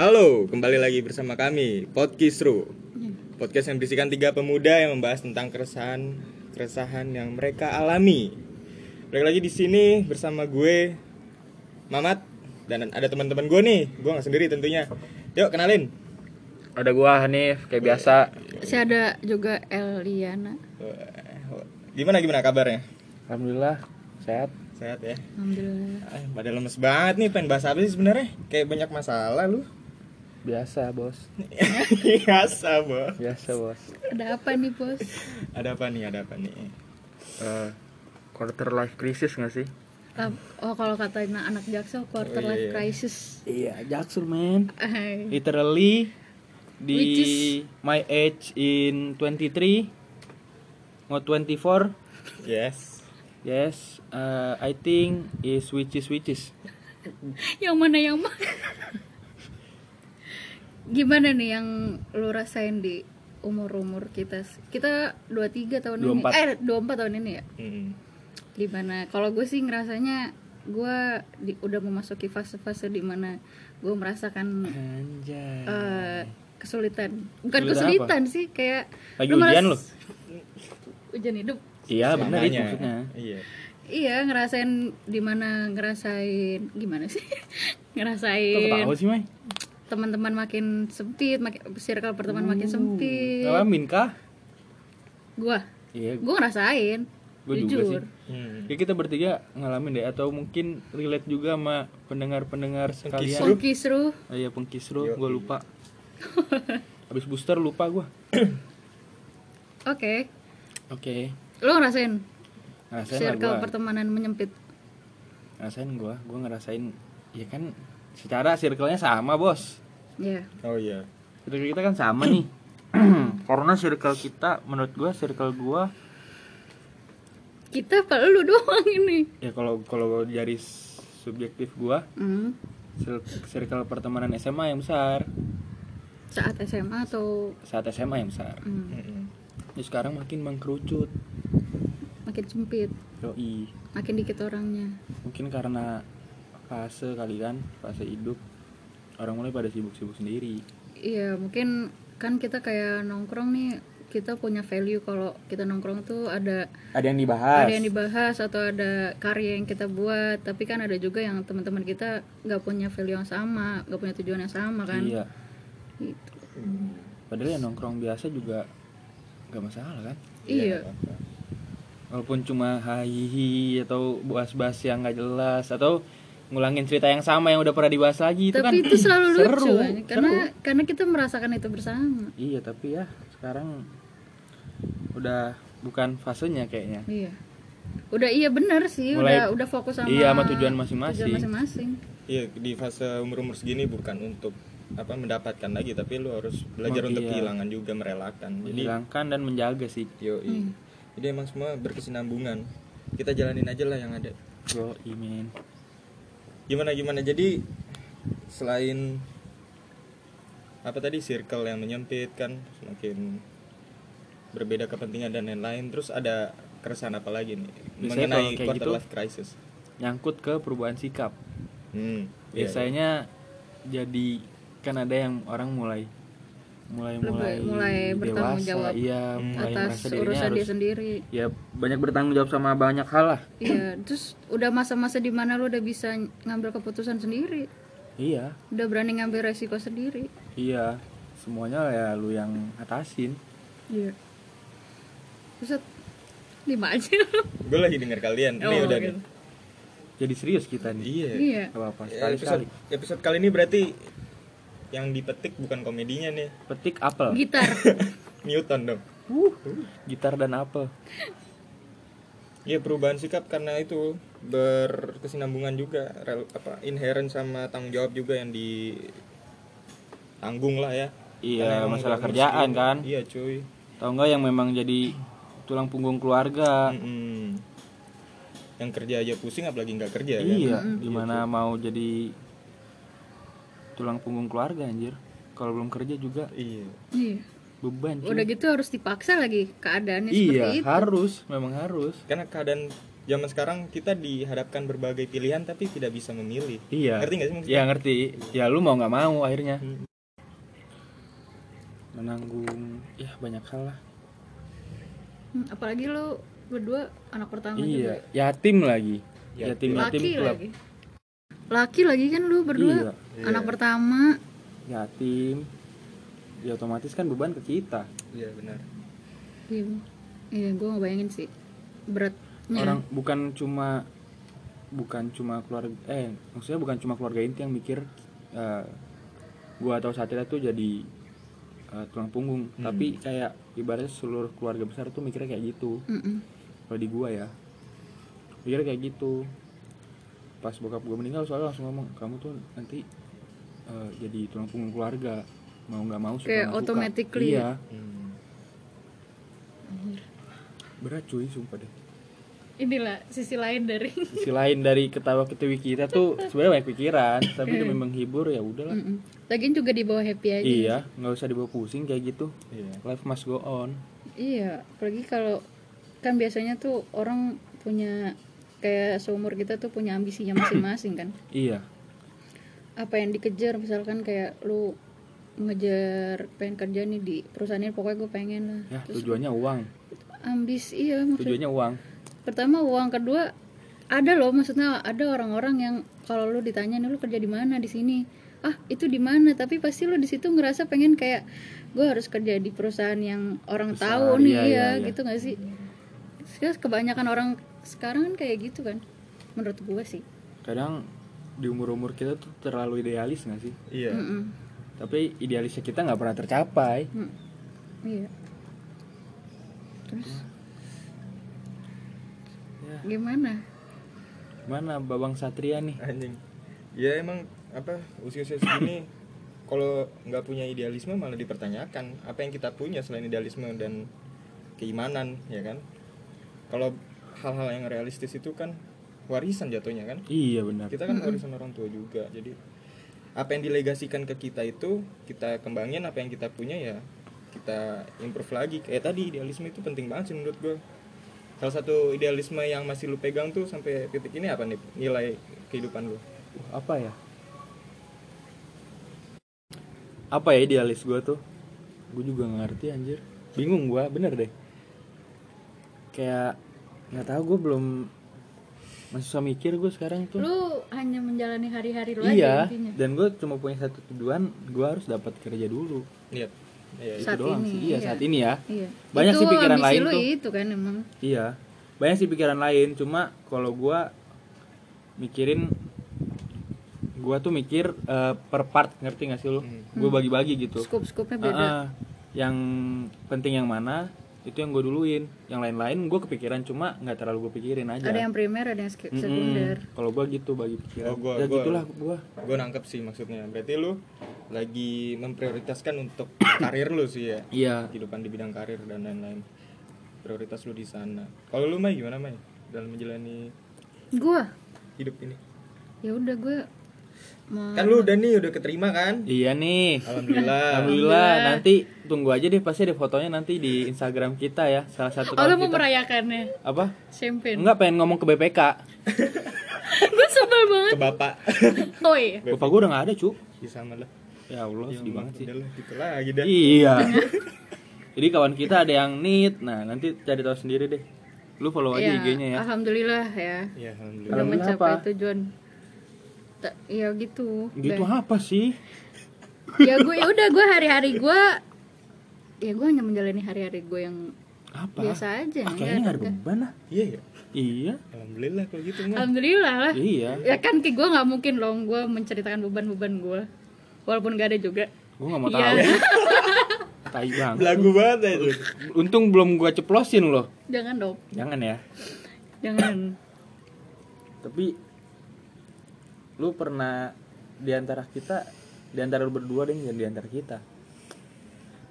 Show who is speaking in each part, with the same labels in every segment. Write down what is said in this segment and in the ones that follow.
Speaker 1: Halo, kembali lagi bersama kami Podcast Ru. Podcast yang berisikan tiga pemuda yang membahas tentang keresahan keresahan yang mereka alami. Balik lagi di sini bersama gue Mamat dan ada teman-teman gue nih. Gue nggak sendiri tentunya. Yuk kenalin.
Speaker 2: Ada gua Hanif
Speaker 3: Iya.
Speaker 2: kayak biasa.
Speaker 4: Saya ada juga Eliana.
Speaker 1: Gimana gimana kabarnya?
Speaker 2: Alhamdulillah sehat.
Speaker 1: Sehat ya.
Speaker 4: Alhamdulillah.
Speaker 1: Ah, Pada lemes banget nih pengen bahas apa sih sebenarnya? Kayak banyak masalah lu.
Speaker 2: Biasa, Bos.
Speaker 1: Biasa, Bo.
Speaker 2: Biasa, Bos.
Speaker 4: Ada apa nih, Bos?
Speaker 1: Ada apa nih? Ada apa nih?
Speaker 2: Eh, quarter life crisis gak sih?
Speaker 4: Ap- Oh, kalau kata anak jaksa quarter
Speaker 1: Oh, iya,
Speaker 4: life
Speaker 1: iya.
Speaker 4: crisis.
Speaker 3: Iya, Jaksel man.
Speaker 4: Hai.
Speaker 3: Literally di
Speaker 4: Which is-
Speaker 3: my age in 23 or 24,
Speaker 1: Yes.
Speaker 3: yes, uh, I think is which is which is.
Speaker 4: Yang mana yang mana? Gimana nih yang lu rasain di umur-umur kita? Kita 23 tahun ini.
Speaker 3: 24.
Speaker 4: Eh, 24 tahun ini ya.
Speaker 1: Mm.
Speaker 4: Gimana? Kalau gue sih ngerasanya gue di- udah memasuki fase-fase dimana gue merasakan
Speaker 3: Anjay.
Speaker 4: eh, kesulitan. Bukan
Speaker 3: Kesulitan
Speaker 4: kesulitan sih, kayak
Speaker 3: Lagi
Speaker 4: lu malas-
Speaker 3: ujian lu?
Speaker 4: Ujian hidup.
Speaker 3: Iya, benar itu
Speaker 1: Namanya.
Speaker 3: maksudnya.
Speaker 1: Iya.
Speaker 4: Iya, ngerasain dimana ngerasain gimana sih?
Speaker 3: Kok
Speaker 4: ngerasain
Speaker 3: tahu sih, Mai?
Speaker 4: teman-teman makin sempit, makin circle pertemanan
Speaker 3: Uh,
Speaker 4: makin sempit.
Speaker 3: Ngalamin kah?
Speaker 4: Gua,
Speaker 3: Iya,
Speaker 4: gua ngerasain.
Speaker 3: Gua juga
Speaker 4: jujur.
Speaker 3: sih.
Speaker 1: Hmm.
Speaker 3: Ya, kita bertiga ngalamin deh atau mungkin relate juga sama pendengar-pendengar sekalian.
Speaker 4: Pun kisruh.
Speaker 3: Oh iya pengkisru, gue lupa. Habis booster lupa gue.
Speaker 4: Oke.
Speaker 3: Oke.
Speaker 4: Lu ngerasain
Speaker 3: Ngerasain lah
Speaker 4: circle
Speaker 3: gue.
Speaker 4: pertemanan menyempit.
Speaker 3: Ngerasain gue, gue ngerasain. Ya kan, secara circle-nya sama bos.
Speaker 4: Ya.
Speaker 1: Oh iya.
Speaker 3: Circle kita kan sama nih. Karena circle kita, menurut gue, circle gue
Speaker 4: Kita apa lu doang ini?
Speaker 3: ya kalau kalau dari s- subjektif gue,
Speaker 4: Hmm.
Speaker 3: cir- circle pertemanan SMA yang besar
Speaker 4: Saat SMA atau
Speaker 3: saat SMA yang besar.
Speaker 4: hmm,
Speaker 1: Mm-mm.
Speaker 3: Terus sekarang makin mengkerucut.
Speaker 4: makin sempit,
Speaker 3: Yoi.
Speaker 4: makin dikit orangnya.
Speaker 3: mungkin karena fase kali kan fase hidup orang mulai pada sibuk-sibuk sendiri
Speaker 4: Iya, mungkin kan kita kayak nongkrong nih, kita punya value kalau kita nongkrong tuh ada
Speaker 3: ada yang dibahas
Speaker 4: ada yang dibahas atau ada karya yang kita buat, tapi kan ada juga yang teman-teman kita nggak punya value yang sama, nggak punya tujuan yang sama kan.
Speaker 3: iya
Speaker 4: Gitu.
Speaker 3: padahal yang nongkrong biasa juga nggak masalah kan
Speaker 4: Iya.
Speaker 3: walaupun cuma hahihi atau bahas-bahas yang nggak jelas atau ngulangin cerita yang sama yang udah pernah dibahas lagi itu kan
Speaker 4: Tapi itu selalu lucu
Speaker 3: seru,
Speaker 4: kan, karena karena kita merasakan itu bersama.
Speaker 3: iya tapi ya sekarang udah bukan fasenya kayaknya
Speaker 4: Iya. Udah iya bener sih,
Speaker 3: Mulai-
Speaker 4: udah udah fokus sama
Speaker 3: iya, sama tujuan masing-masing.
Speaker 4: tujuan masing-masing.
Speaker 1: Iya di fase umur-umur segini bukan untuk apa mendapatkan lagi tapi lu harus belajar
Speaker 3: Oh,
Speaker 1: untuk
Speaker 3: iya.
Speaker 1: kehilangan juga merelakan. Jadi
Speaker 3: menghilangkan dan menjaga sih
Speaker 1: yoi. Jadi emang semua berkesinambungan. Kita jalanin aja lah yang ada.
Speaker 3: yo imin
Speaker 1: Gimana gimana. Jadi selain apa tadi circle yang menyempit kan semakin berbeda kepentingan dan lain-lain terus ada keresahan apa lagi nih
Speaker 3: Biasanya
Speaker 1: mengenai
Speaker 3: kalau kayak
Speaker 1: quarter
Speaker 3: gitu-
Speaker 1: life crisis.
Speaker 3: nyangkut ke perubahan sikap
Speaker 1: Hmm, iya, iya.
Speaker 3: biasanya jadi kan ada yang orang mulai mulai
Speaker 4: Lebih-
Speaker 3: mulai,
Speaker 4: mulai bertanggung
Speaker 3: dewasa,
Speaker 4: jawab
Speaker 3: iya
Speaker 1: Hmm.
Speaker 3: mulai
Speaker 4: Atas
Speaker 3: merasa dirinya
Speaker 4: urusan
Speaker 3: harus
Speaker 4: dia sendiri.
Speaker 3: ya banyak bertanggung jawab sama banyak hal lah
Speaker 4: Iya, terus udah masa-masa dimana lu udah bisa ny- ngambil keputusan sendiri,
Speaker 3: iya
Speaker 4: udah berani ngambil resiko sendiri.
Speaker 3: iya semuanya ya lu yang atasin
Speaker 4: Iya. Buset, lima aja.
Speaker 1: Gue lagi denger kalian. Ini
Speaker 4: Oh,
Speaker 1: udah
Speaker 4: gitu.
Speaker 1: nih.
Speaker 3: jadi serius kita nih
Speaker 1: Iya.
Speaker 4: iya.
Speaker 3: apa apa
Speaker 1: Ya,
Speaker 3: sekali
Speaker 1: episode,
Speaker 3: sekali
Speaker 1: episode kali ini berarti yang dipetik bukan komedinya nih
Speaker 3: petik apel
Speaker 4: Gitar.
Speaker 1: Newton dong
Speaker 3: Uh, gitar dan apel
Speaker 1: Iya perubahan sikap karena itu berkesinambungan juga rel- apa inherent sama tanggung jawab juga yang di tanggung lah ya
Speaker 3: iya
Speaker 1: Karena emang
Speaker 3: masalah
Speaker 1: bangun
Speaker 3: kerjaan
Speaker 1: segini.
Speaker 3: kan
Speaker 1: iya cuy
Speaker 3: tau nggak yang memang jadi tulang punggung keluarga
Speaker 1: Mm-mm. yang kerja aja pusing apalagi nggak kerja kan?
Speaker 3: Iya, gimana mau jadi tulang punggung keluarga anjir. Kalau belum kerja juga
Speaker 1: iya
Speaker 4: iya.
Speaker 3: beban. cuy.
Speaker 4: Udah gitu harus dipaksa lagi keadaannya seperti
Speaker 3: iya,
Speaker 4: itu.
Speaker 3: harus, memang harus.
Speaker 1: karena keadaan zaman sekarang kita dihadapkan berbagai pilihan tapi tidak bisa memilih.
Speaker 3: Iya.
Speaker 1: Ngerti nggak sih maksudnya?
Speaker 3: Ya ngerti. Ya lu mau nggak mau akhirnya.
Speaker 1: Hmm.
Speaker 3: Menanggung ya banyak hal lah.
Speaker 4: Hmm, apalagi lu berdua anak pertama
Speaker 3: iya, yatim lagi. Yatim
Speaker 4: juga.
Speaker 3: yatim
Speaker 4: Laki
Speaker 3: klub.
Speaker 4: lagi. Laki lagi kan lu
Speaker 3: Iya.
Speaker 4: berdua anak pertama.
Speaker 3: Yatim. Ya otomatis kan beban ke kita.
Speaker 1: Iya benar.
Speaker 4: Iya. Iya, gua ngebayangin sih beratnya.
Speaker 3: Orang bukan cuma bukan cuma keluarga eh maksudnya bukan cuma keluarga inti yang mikir eh, gua atau Satria tuh jadi eh, tulang punggung,
Speaker 4: Hmm.
Speaker 3: tapi kayak ibaratnya seluruh keluarga besar tuh mikirnya kayak gitu.
Speaker 4: Mm-mm.
Speaker 3: kalau di gua ya pikir kayak gitu pas bokap gua meninggal soalnya langsung ngomong kamu tuh nanti eh, jadi tulang punggung keluarga mau nggak mau suka nggak
Speaker 4: Kayak
Speaker 3: suka."
Speaker 4: automatically.
Speaker 3: iya
Speaker 1: Hmm.
Speaker 3: berat cuy sumpah deh
Speaker 5: Inilah sisi lain dari
Speaker 3: sisi lain dari ketawa ketawi kita tuh sebenarnya banyak pikiran tapi demi menghibur ya udahlah
Speaker 4: Mm-mm. Lagian juga di bawah happy aja.
Speaker 3: iya nggak usah dibawa pusing kayak gitu
Speaker 1: Iya.
Speaker 3: life must go on
Speaker 4: Iya, apalagi kalau kan biasanya tuh orang punya kayak seumur kita tuh punya ambisinya masing-masing kan.
Speaker 3: iya
Speaker 4: Apa yang dikejar misalkan kayak lu ngejar pengen kerja nih di perusahaan ini pokoknya gue pengen lah.
Speaker 3: ya tujuannya uang
Speaker 4: Ambis iya maksudnya.
Speaker 3: tujuannya uang
Speaker 4: Pertama uang, kedua ada loh maksudnya ada orang-orang yang kalau lu ditanya nih lu kerja di mana di sini ah itu di mana tapi pasti lu di situ ngerasa pengen kayak gue harus kerja di perusahaan yang orang
Speaker 3: Besar,
Speaker 4: tahu
Speaker 3: iya,
Speaker 4: nih ya,
Speaker 3: iya, iya.
Speaker 4: gitu nggak sih Terus kebanyakan orang sekarang kan kayak gitu kan menurut gue sih
Speaker 3: kadang di umur umur kita tuh terlalu idealis nggak sih
Speaker 1: Iya.
Speaker 4: Mm-mm.
Speaker 3: tapi idealisnya kita nggak pernah tercapai
Speaker 4: Mm. iya terus
Speaker 3: Ya.
Speaker 4: gimana
Speaker 3: Mana Babang Satria nih?
Speaker 1: Anjing. Ya emang apa usia-usia segini kalau nggak punya idealisme malah dipertanyakan apa yang kita punya selain idealisme dan keimanan ya kan. Kalau hal-hal yang realistis itu kan warisan jatuhnya kan.
Speaker 3: Iya benar.
Speaker 1: Kita kan warisan orang tua juga. Jadi apa yang dilegasikan ke kita itu kita kembangin apa yang kita punya ya kita improve lagi. Kayak tadi idealisme itu penting banget sih menurut gue. Salah satu idealisme yang masih lu pegang tuh sampai titik ini apa nih nilai kehidupan lu?
Speaker 3: Wah, apa ya? Apa ya idealis gue tuh? Gue juga nggak ngerti anjir. Bingung gue, bener deh. Kayak nggak tahu gue belum masih susah mikir gue sekarang tuh.
Speaker 5: lu hanya menjalani hari-hari lu
Speaker 3: iya.
Speaker 5: aja intinya.
Speaker 3: Dan gue cuma punya satu tujuan, gue harus dapat kerja dulu.
Speaker 1: Iya. Iya.
Speaker 3: Itu
Speaker 4: Saat
Speaker 3: doang
Speaker 4: ini,
Speaker 3: sih. Iya,
Speaker 4: iya.
Speaker 3: saat ini ya.
Speaker 4: iya
Speaker 3: Banyak sih pikiran
Speaker 4: ambisi
Speaker 3: lain
Speaker 4: lu
Speaker 3: tuh.
Speaker 4: itu kan emang
Speaker 3: Iya, banyak sih pikiran lain. Cuma kalau gua mikirin, gua tuh mikir eh, per part ngerti gak sih lu?
Speaker 1: Hmm.
Speaker 3: Gue bagi-bagi gitu.
Speaker 4: scope scope nya
Speaker 3: Ah,
Speaker 4: beda
Speaker 3: ah. yang penting yang mana itu yang gue duluin. Yang lain-lain gue kepikiran cuma nggak terlalu gue pikirin aja.
Speaker 4: ada yang primer ada yang sk-
Speaker 3: ah. Mm-mm.
Speaker 4: sekunder
Speaker 3: Kalau gua gitu bagi pikiran.
Speaker 1: Oh, gua-
Speaker 3: ya
Speaker 1: gua-
Speaker 3: gitulah gua.
Speaker 1: Gue nangkep sih maksudnya. Berarti lu lagi memprioritaskan untuk karir lu sih ya.
Speaker 3: Iya.
Speaker 1: Kehidupan di bidang karir dan lain-lain. Prioritas lu di sana. Kalau lu Mai gimana Mai dalam menjalani
Speaker 4: gue
Speaker 1: hidup ini?
Speaker 4: ya udah gue mau
Speaker 1: Kan lu udah nih udah keterima kan?
Speaker 3: Iya nih.
Speaker 1: Alhamdulillah.
Speaker 3: Alhamdulillah nanti tunggu aja deh pasti ada fotonya nanti di Instagram kita ya salah satu
Speaker 5: Oh, lu
Speaker 3: kawan
Speaker 5: mau
Speaker 3: kita
Speaker 5: merayakannya
Speaker 3: apa
Speaker 5: champagne.
Speaker 3: enggak pengen ngomong ke BPK
Speaker 5: Gue sebel banget.
Speaker 1: Ke bapak.
Speaker 5: Oh iya.
Speaker 3: Bapak gue udah gak ada cu
Speaker 1: Ya sama lah.
Speaker 3: Ya Allah sedih banget sih
Speaker 1: Udah lah gitu lagi dah.
Speaker 3: Iya Jadi kawan kita ada yang need Nah nanti cari tahu sendiri deh Lu follow aja
Speaker 4: ya,
Speaker 3: IG-nya ya
Speaker 4: alhamdulillah ya
Speaker 1: Iya alhamdulillah.
Speaker 4: udah
Speaker 3: Alhamdulillah
Speaker 4: mencapai
Speaker 3: apa?
Speaker 4: tujuan Ta- ya gitu
Speaker 3: Gitu
Speaker 4: Udah.
Speaker 3: apa sih?
Speaker 4: ya gue ya udah gue hari-hari gue ya gue hanya menjalani hari-hari gue yang
Speaker 3: Apa?
Speaker 4: biasa aja
Speaker 3: Ah,
Speaker 4: ya
Speaker 3: kayaknya gak ada beban lah
Speaker 1: Iya ya.
Speaker 3: Iya
Speaker 1: Alhamdulillah kalau gitu mah.
Speaker 5: Alhamdulillah lah.
Speaker 3: Iya
Speaker 4: ya kan kayak gue nggak mungkin loh gue menceritakan beban-beban gue walaupun gak ada juga Ya.
Speaker 3: Gue gak mau
Speaker 4: Iya.
Speaker 3: tahu Tai bang
Speaker 1: Lagu banget ya itu.
Speaker 3: Untung belum gue ceplosin loh
Speaker 4: jangan dong
Speaker 3: Jangan ya
Speaker 4: jangan
Speaker 3: Tapi Lu pernah Di antara kita Di antara lu berdua deh Dan di antara kita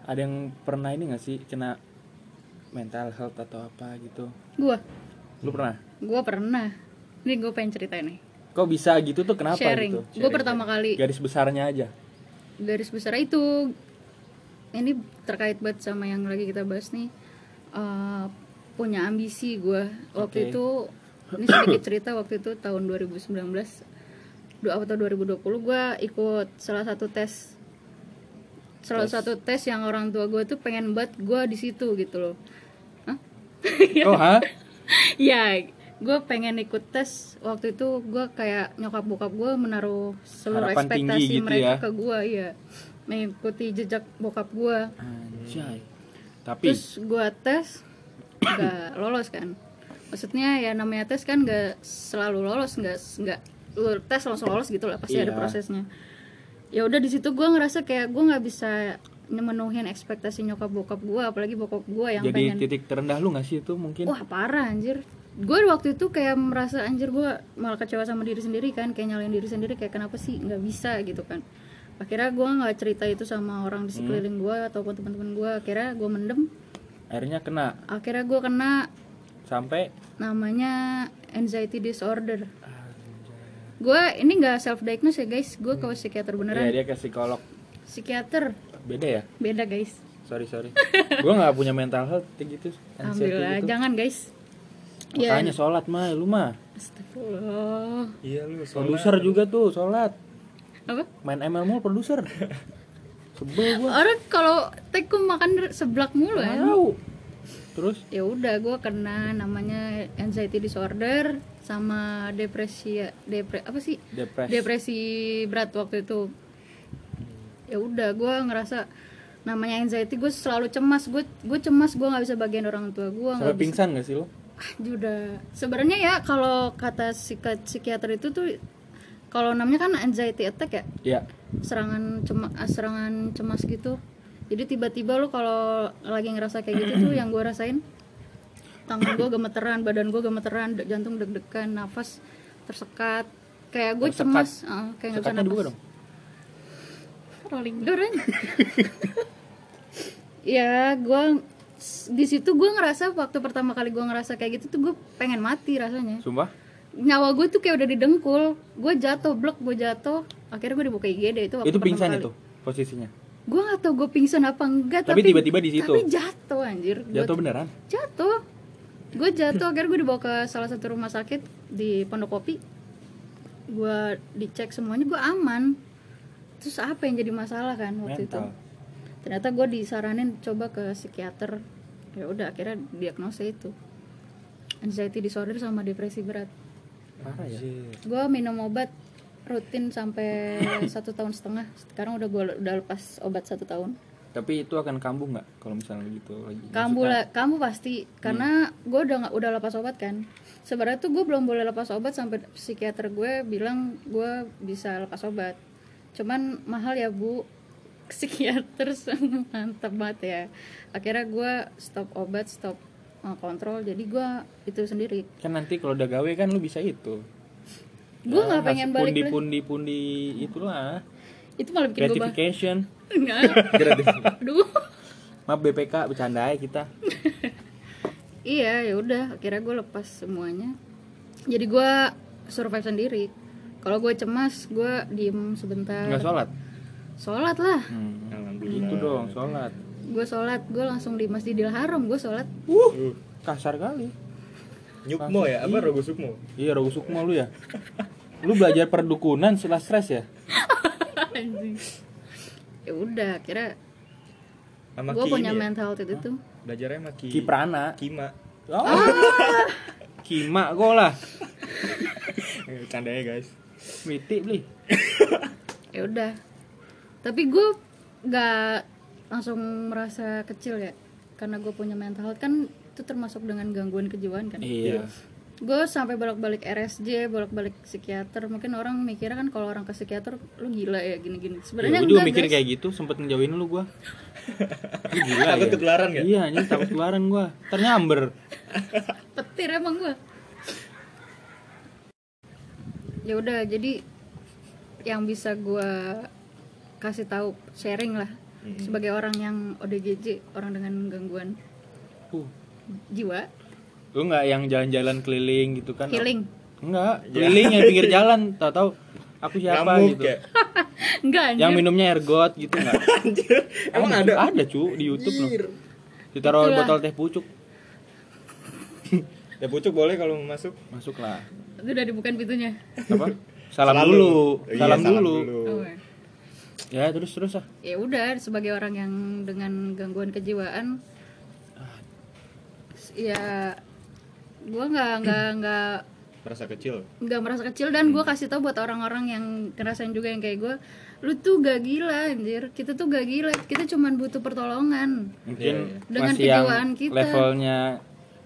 Speaker 3: Ada yang pernah ini gak sih Kena mental health atau apa gitu
Speaker 4: gue
Speaker 3: Lu pernah?
Speaker 4: gue pernah ini gue pengen ceritain nih
Speaker 3: Kok bisa gitu tuh kenapa
Speaker 4: sharing,
Speaker 3: gitu?
Speaker 4: gue pertama kali
Speaker 3: Garis besarnya aja.
Speaker 4: garis besar itu ini terkait banget sama yang lagi kita bahas nih Eh, punya ambisi gue waktu
Speaker 3: Oke.
Speaker 4: itu ini sedikit cerita waktu itu tahun 2019 du- atau 2020 gue ikut salah satu tes salah satu tes yang orang tua gue tuh pengen buat gue di situ gitu loh Hah? Iya.
Speaker 3: oh ha
Speaker 4: ya gue pengen ikut tes waktu itu gue kayak nyokap bokap gue menaruh seluruh
Speaker 3: Harapan tinggi
Speaker 4: ekspektasi
Speaker 3: gitu
Speaker 4: mereka
Speaker 3: ya.
Speaker 4: ke gue ya mengikuti jejak bokap gue
Speaker 3: anjay tapi
Speaker 4: terus gue tes nggak lolos kan maksudnya ya namanya tes kan nggak selalu lolos nggak nggak lu tes langsung lolos gitu lah pasti ada
Speaker 3: Iya.
Speaker 4: prosesnya ya udah di situ gue ngerasa kayak gue nggak bisa memenuhin ekspektasi nyokap bokap gue apalagi bokap gue yang
Speaker 3: jadi
Speaker 4: pengen
Speaker 3: titik terendah lu gak sih itu mungkin
Speaker 4: Wah parah anjir Gue waktu itu kayak merasa anjir gue malah kecewa sama diri sendiri kan Kayak nyalain diri sendiri kayak kenapa sih nggak bisa gitu kan Akhirnya gue nggak cerita itu sama orang di sekeliling
Speaker 3: Hmm.
Speaker 4: gue ataupun teman-teman gue Akhirnya gue mendem
Speaker 3: akhirnya kena
Speaker 4: Akhirnya gue kena
Speaker 3: sampai
Speaker 4: namanya anxiety disorder Gue ini nggak self diagnose ya guys Gue ke psikiater
Speaker 3: ya
Speaker 4: beneran
Speaker 3: dia ke psikolog
Speaker 4: Psikiater
Speaker 3: beda ya
Speaker 4: beda guys
Speaker 3: sorry sorry gue nggak punya mental health kayak gitu anxiety
Speaker 4: Alhamdulillah
Speaker 3: gitu.
Speaker 4: jangan guys Ya,
Speaker 3: makanya sholat mah lu mah
Speaker 4: astagfirullah
Speaker 1: Iya lu soalnya
Speaker 3: produser juga tuh sholat
Speaker 4: Apa?
Speaker 3: main ML mulu produser sebel gua
Speaker 4: Orang kalau tekum makan seblak mulu ya.
Speaker 3: tahu terus
Speaker 4: Ya udah gue kena namanya anxiety disorder sama depresi depre apa sih?
Speaker 3: depresi
Speaker 4: Depresi berat waktu itu. Ya udah gue ngerasa namanya anxiety gue selalu cemas gue gue cemas gue nggak bisa bagian orang tua gue
Speaker 3: sampai
Speaker 4: nggak bisa
Speaker 3: pingsan gak sih lo
Speaker 4: Ah, Juda. Sebenarnya ya kalau kata psika- psikiater itu tuh kalau namanya kan anxiety attack ya
Speaker 3: ya
Speaker 4: serangan cemas serangan cemas gitu jadi tiba-tiba lo kalau lagi ngerasa kayak gitu tuh yang gue rasain tangan gue gemeteran badan gue gemeteran de- jantung deg-degan nafas tersekat kayak gue
Speaker 3: Tersekat.
Speaker 4: cemas eh, kayak nggak bisa
Speaker 3: sekatnya
Speaker 4: nafas
Speaker 3: dibuka dong
Speaker 5: Rolling
Speaker 4: Door, Ren. ya gue di situ gue ngerasa waktu pertama kali gue ngerasa kayak gitu tuh gue pengen mati rasanya
Speaker 3: sumpah
Speaker 4: nyawa gue tuh kayak udah didengkul gue jatuh blok gue jatuh akhirnya gue dibuka IGD itu waktu
Speaker 3: itu
Speaker 4: pertama
Speaker 3: pingsan
Speaker 4: kali.
Speaker 3: itu posisinya
Speaker 4: gue gak tau gue pingsan apa enggak
Speaker 3: Tapi tiba-tiba di situ.
Speaker 4: tapi jatuh anjir Gua-
Speaker 3: jatuh beneran
Speaker 4: jatuh gue jatuh akhirnya gue dibawa ke salah satu rumah sakit di Pondok Kopi gue dicek semuanya gue aman terus apa yang jadi masalah kan waktu itu
Speaker 3: Mental.
Speaker 4: ternyata gue disaranin coba ke psikiater ya udah akhirnya diagnosa itu anxiety disorder sama depresi berat
Speaker 3: parah ya
Speaker 4: gue minum obat rutin sampai satu tahun setengah sekarang udah gue udah lepas obat satu tahun
Speaker 3: tapi itu akan kambuh nggak kalau misalnya gitu lagi
Speaker 4: kamu
Speaker 3: Maksudnya,
Speaker 4: lah kamu pasti karena gue udah nggak udah lepas obat kan sebenarnya tuh gue belum boleh lepas obat sampai psikiater gue bilang gue bisa lepas obat cuman mahal ya bu psikiater mantep banget ya akhirnya gue stop obat stop uh, kontrol jadi gue itu sendiri
Speaker 3: kan nanti kalau udah gawe kan lu bisa itu
Speaker 4: gue
Speaker 3: Ya,
Speaker 4: nggak
Speaker 3: masuk
Speaker 4: pengen balik
Speaker 3: pundi
Speaker 4: lagi.
Speaker 3: pundi pundi itulah
Speaker 4: itu malah bikin gue bah
Speaker 3: gratification
Speaker 4: aduh
Speaker 3: maaf BPK bercanda aja kita
Speaker 4: iya ya udah akhirnya gue lepas semuanya jadi gue survive sendiri kalau gue cemas gue diem sebentar
Speaker 3: nggak sholat
Speaker 4: sholat lah
Speaker 3: hmm.
Speaker 1: Alhamdulillah.
Speaker 3: gitu dong sholat
Speaker 4: gue sholat gue langsung di masjidil haram gue sholat
Speaker 1: Uh,
Speaker 3: kasar kali
Speaker 1: Nyukmo ya, apa Rogo Sukmo?
Speaker 3: iya rogo sukmo lu ya lu belajar perdukunan setelah stres ya
Speaker 4: ya udah akhirnya
Speaker 1: Sama
Speaker 4: gue
Speaker 1: Ki
Speaker 4: punya
Speaker 1: ini ya?
Speaker 4: mental health itu tuh
Speaker 1: Belajarnya sama Ki.
Speaker 3: kiprana
Speaker 1: Kima.
Speaker 3: Ah. kima Oh. kok lah
Speaker 1: Eh, Canda ya guys.
Speaker 3: mitik beli
Speaker 4: ya udah tapi gue nggak langsung merasa kecil ya karena gue punya mental health kan itu termasuk dengan gangguan kejiwaan kan
Speaker 3: iya
Speaker 4: gue sampai bolak-balik RSJ bolak-balik psikiater mungkin orang mikirnya kan kalau orang ke psikiater lu gila ya gini-gini
Speaker 3: Iya,
Speaker 4: sebenarnya
Speaker 3: gue juga
Speaker 4: enggak,
Speaker 3: mikir
Speaker 4: guys.
Speaker 3: kayak gitu, sempet ngejauhin lu gua Lu Gila
Speaker 1: Takut
Speaker 3: ya?
Speaker 1: ketularan ya?
Speaker 3: Iya, anjing takut ketularan gua Ternyamber
Speaker 4: petir emang gue ya udah jadi yang bisa gue kasih tahu sharing lah
Speaker 3: Hmm.
Speaker 4: sebagai orang yang ODGJ orang dengan gangguan
Speaker 3: uh,
Speaker 4: jiwa
Speaker 3: Lu nggak yang jalan-jalan keliling gitu kan?
Speaker 4: healing
Speaker 3: Enggak, keliling yang pinggir jalan Tau-tau aku siapa
Speaker 1: Ngamuk
Speaker 3: gitu
Speaker 1: ya?
Speaker 4: enggak
Speaker 3: Yang
Speaker 4: anjir.
Speaker 3: minumnya ergot gitu nggak?
Speaker 1: Emang ada?
Speaker 3: Ada cu, di Youtube loh Ditaruh
Speaker 4: Itulah.
Speaker 3: botol teh pucuk
Speaker 1: ya pucuk boleh kalau mau masuk
Speaker 3: masuklah
Speaker 5: Itu udah dibukain pintunya.
Speaker 3: apa salam
Speaker 1: Selalu.
Speaker 3: dulu
Speaker 1: Iya,
Speaker 3: salam dulu
Speaker 4: iya.
Speaker 5: Oh.
Speaker 3: ya terus terus ah
Speaker 4: ya udah sebagai orang yang dengan gangguan kejiwaan s- ya gua nggak nggak nggak
Speaker 1: merasa kecil
Speaker 4: nggak merasa kecil dan gua kasih tau buat orang-orang yang ngerasain juga yang kayak gua lu tuh gak gila anjir kita tuh gak gila kita cuman butuh pertolongan
Speaker 1: Iya, iya.
Speaker 3: mungkin
Speaker 4: Dengan
Speaker 3: masih yang
Speaker 4: kejiwaan kita.
Speaker 3: levelnya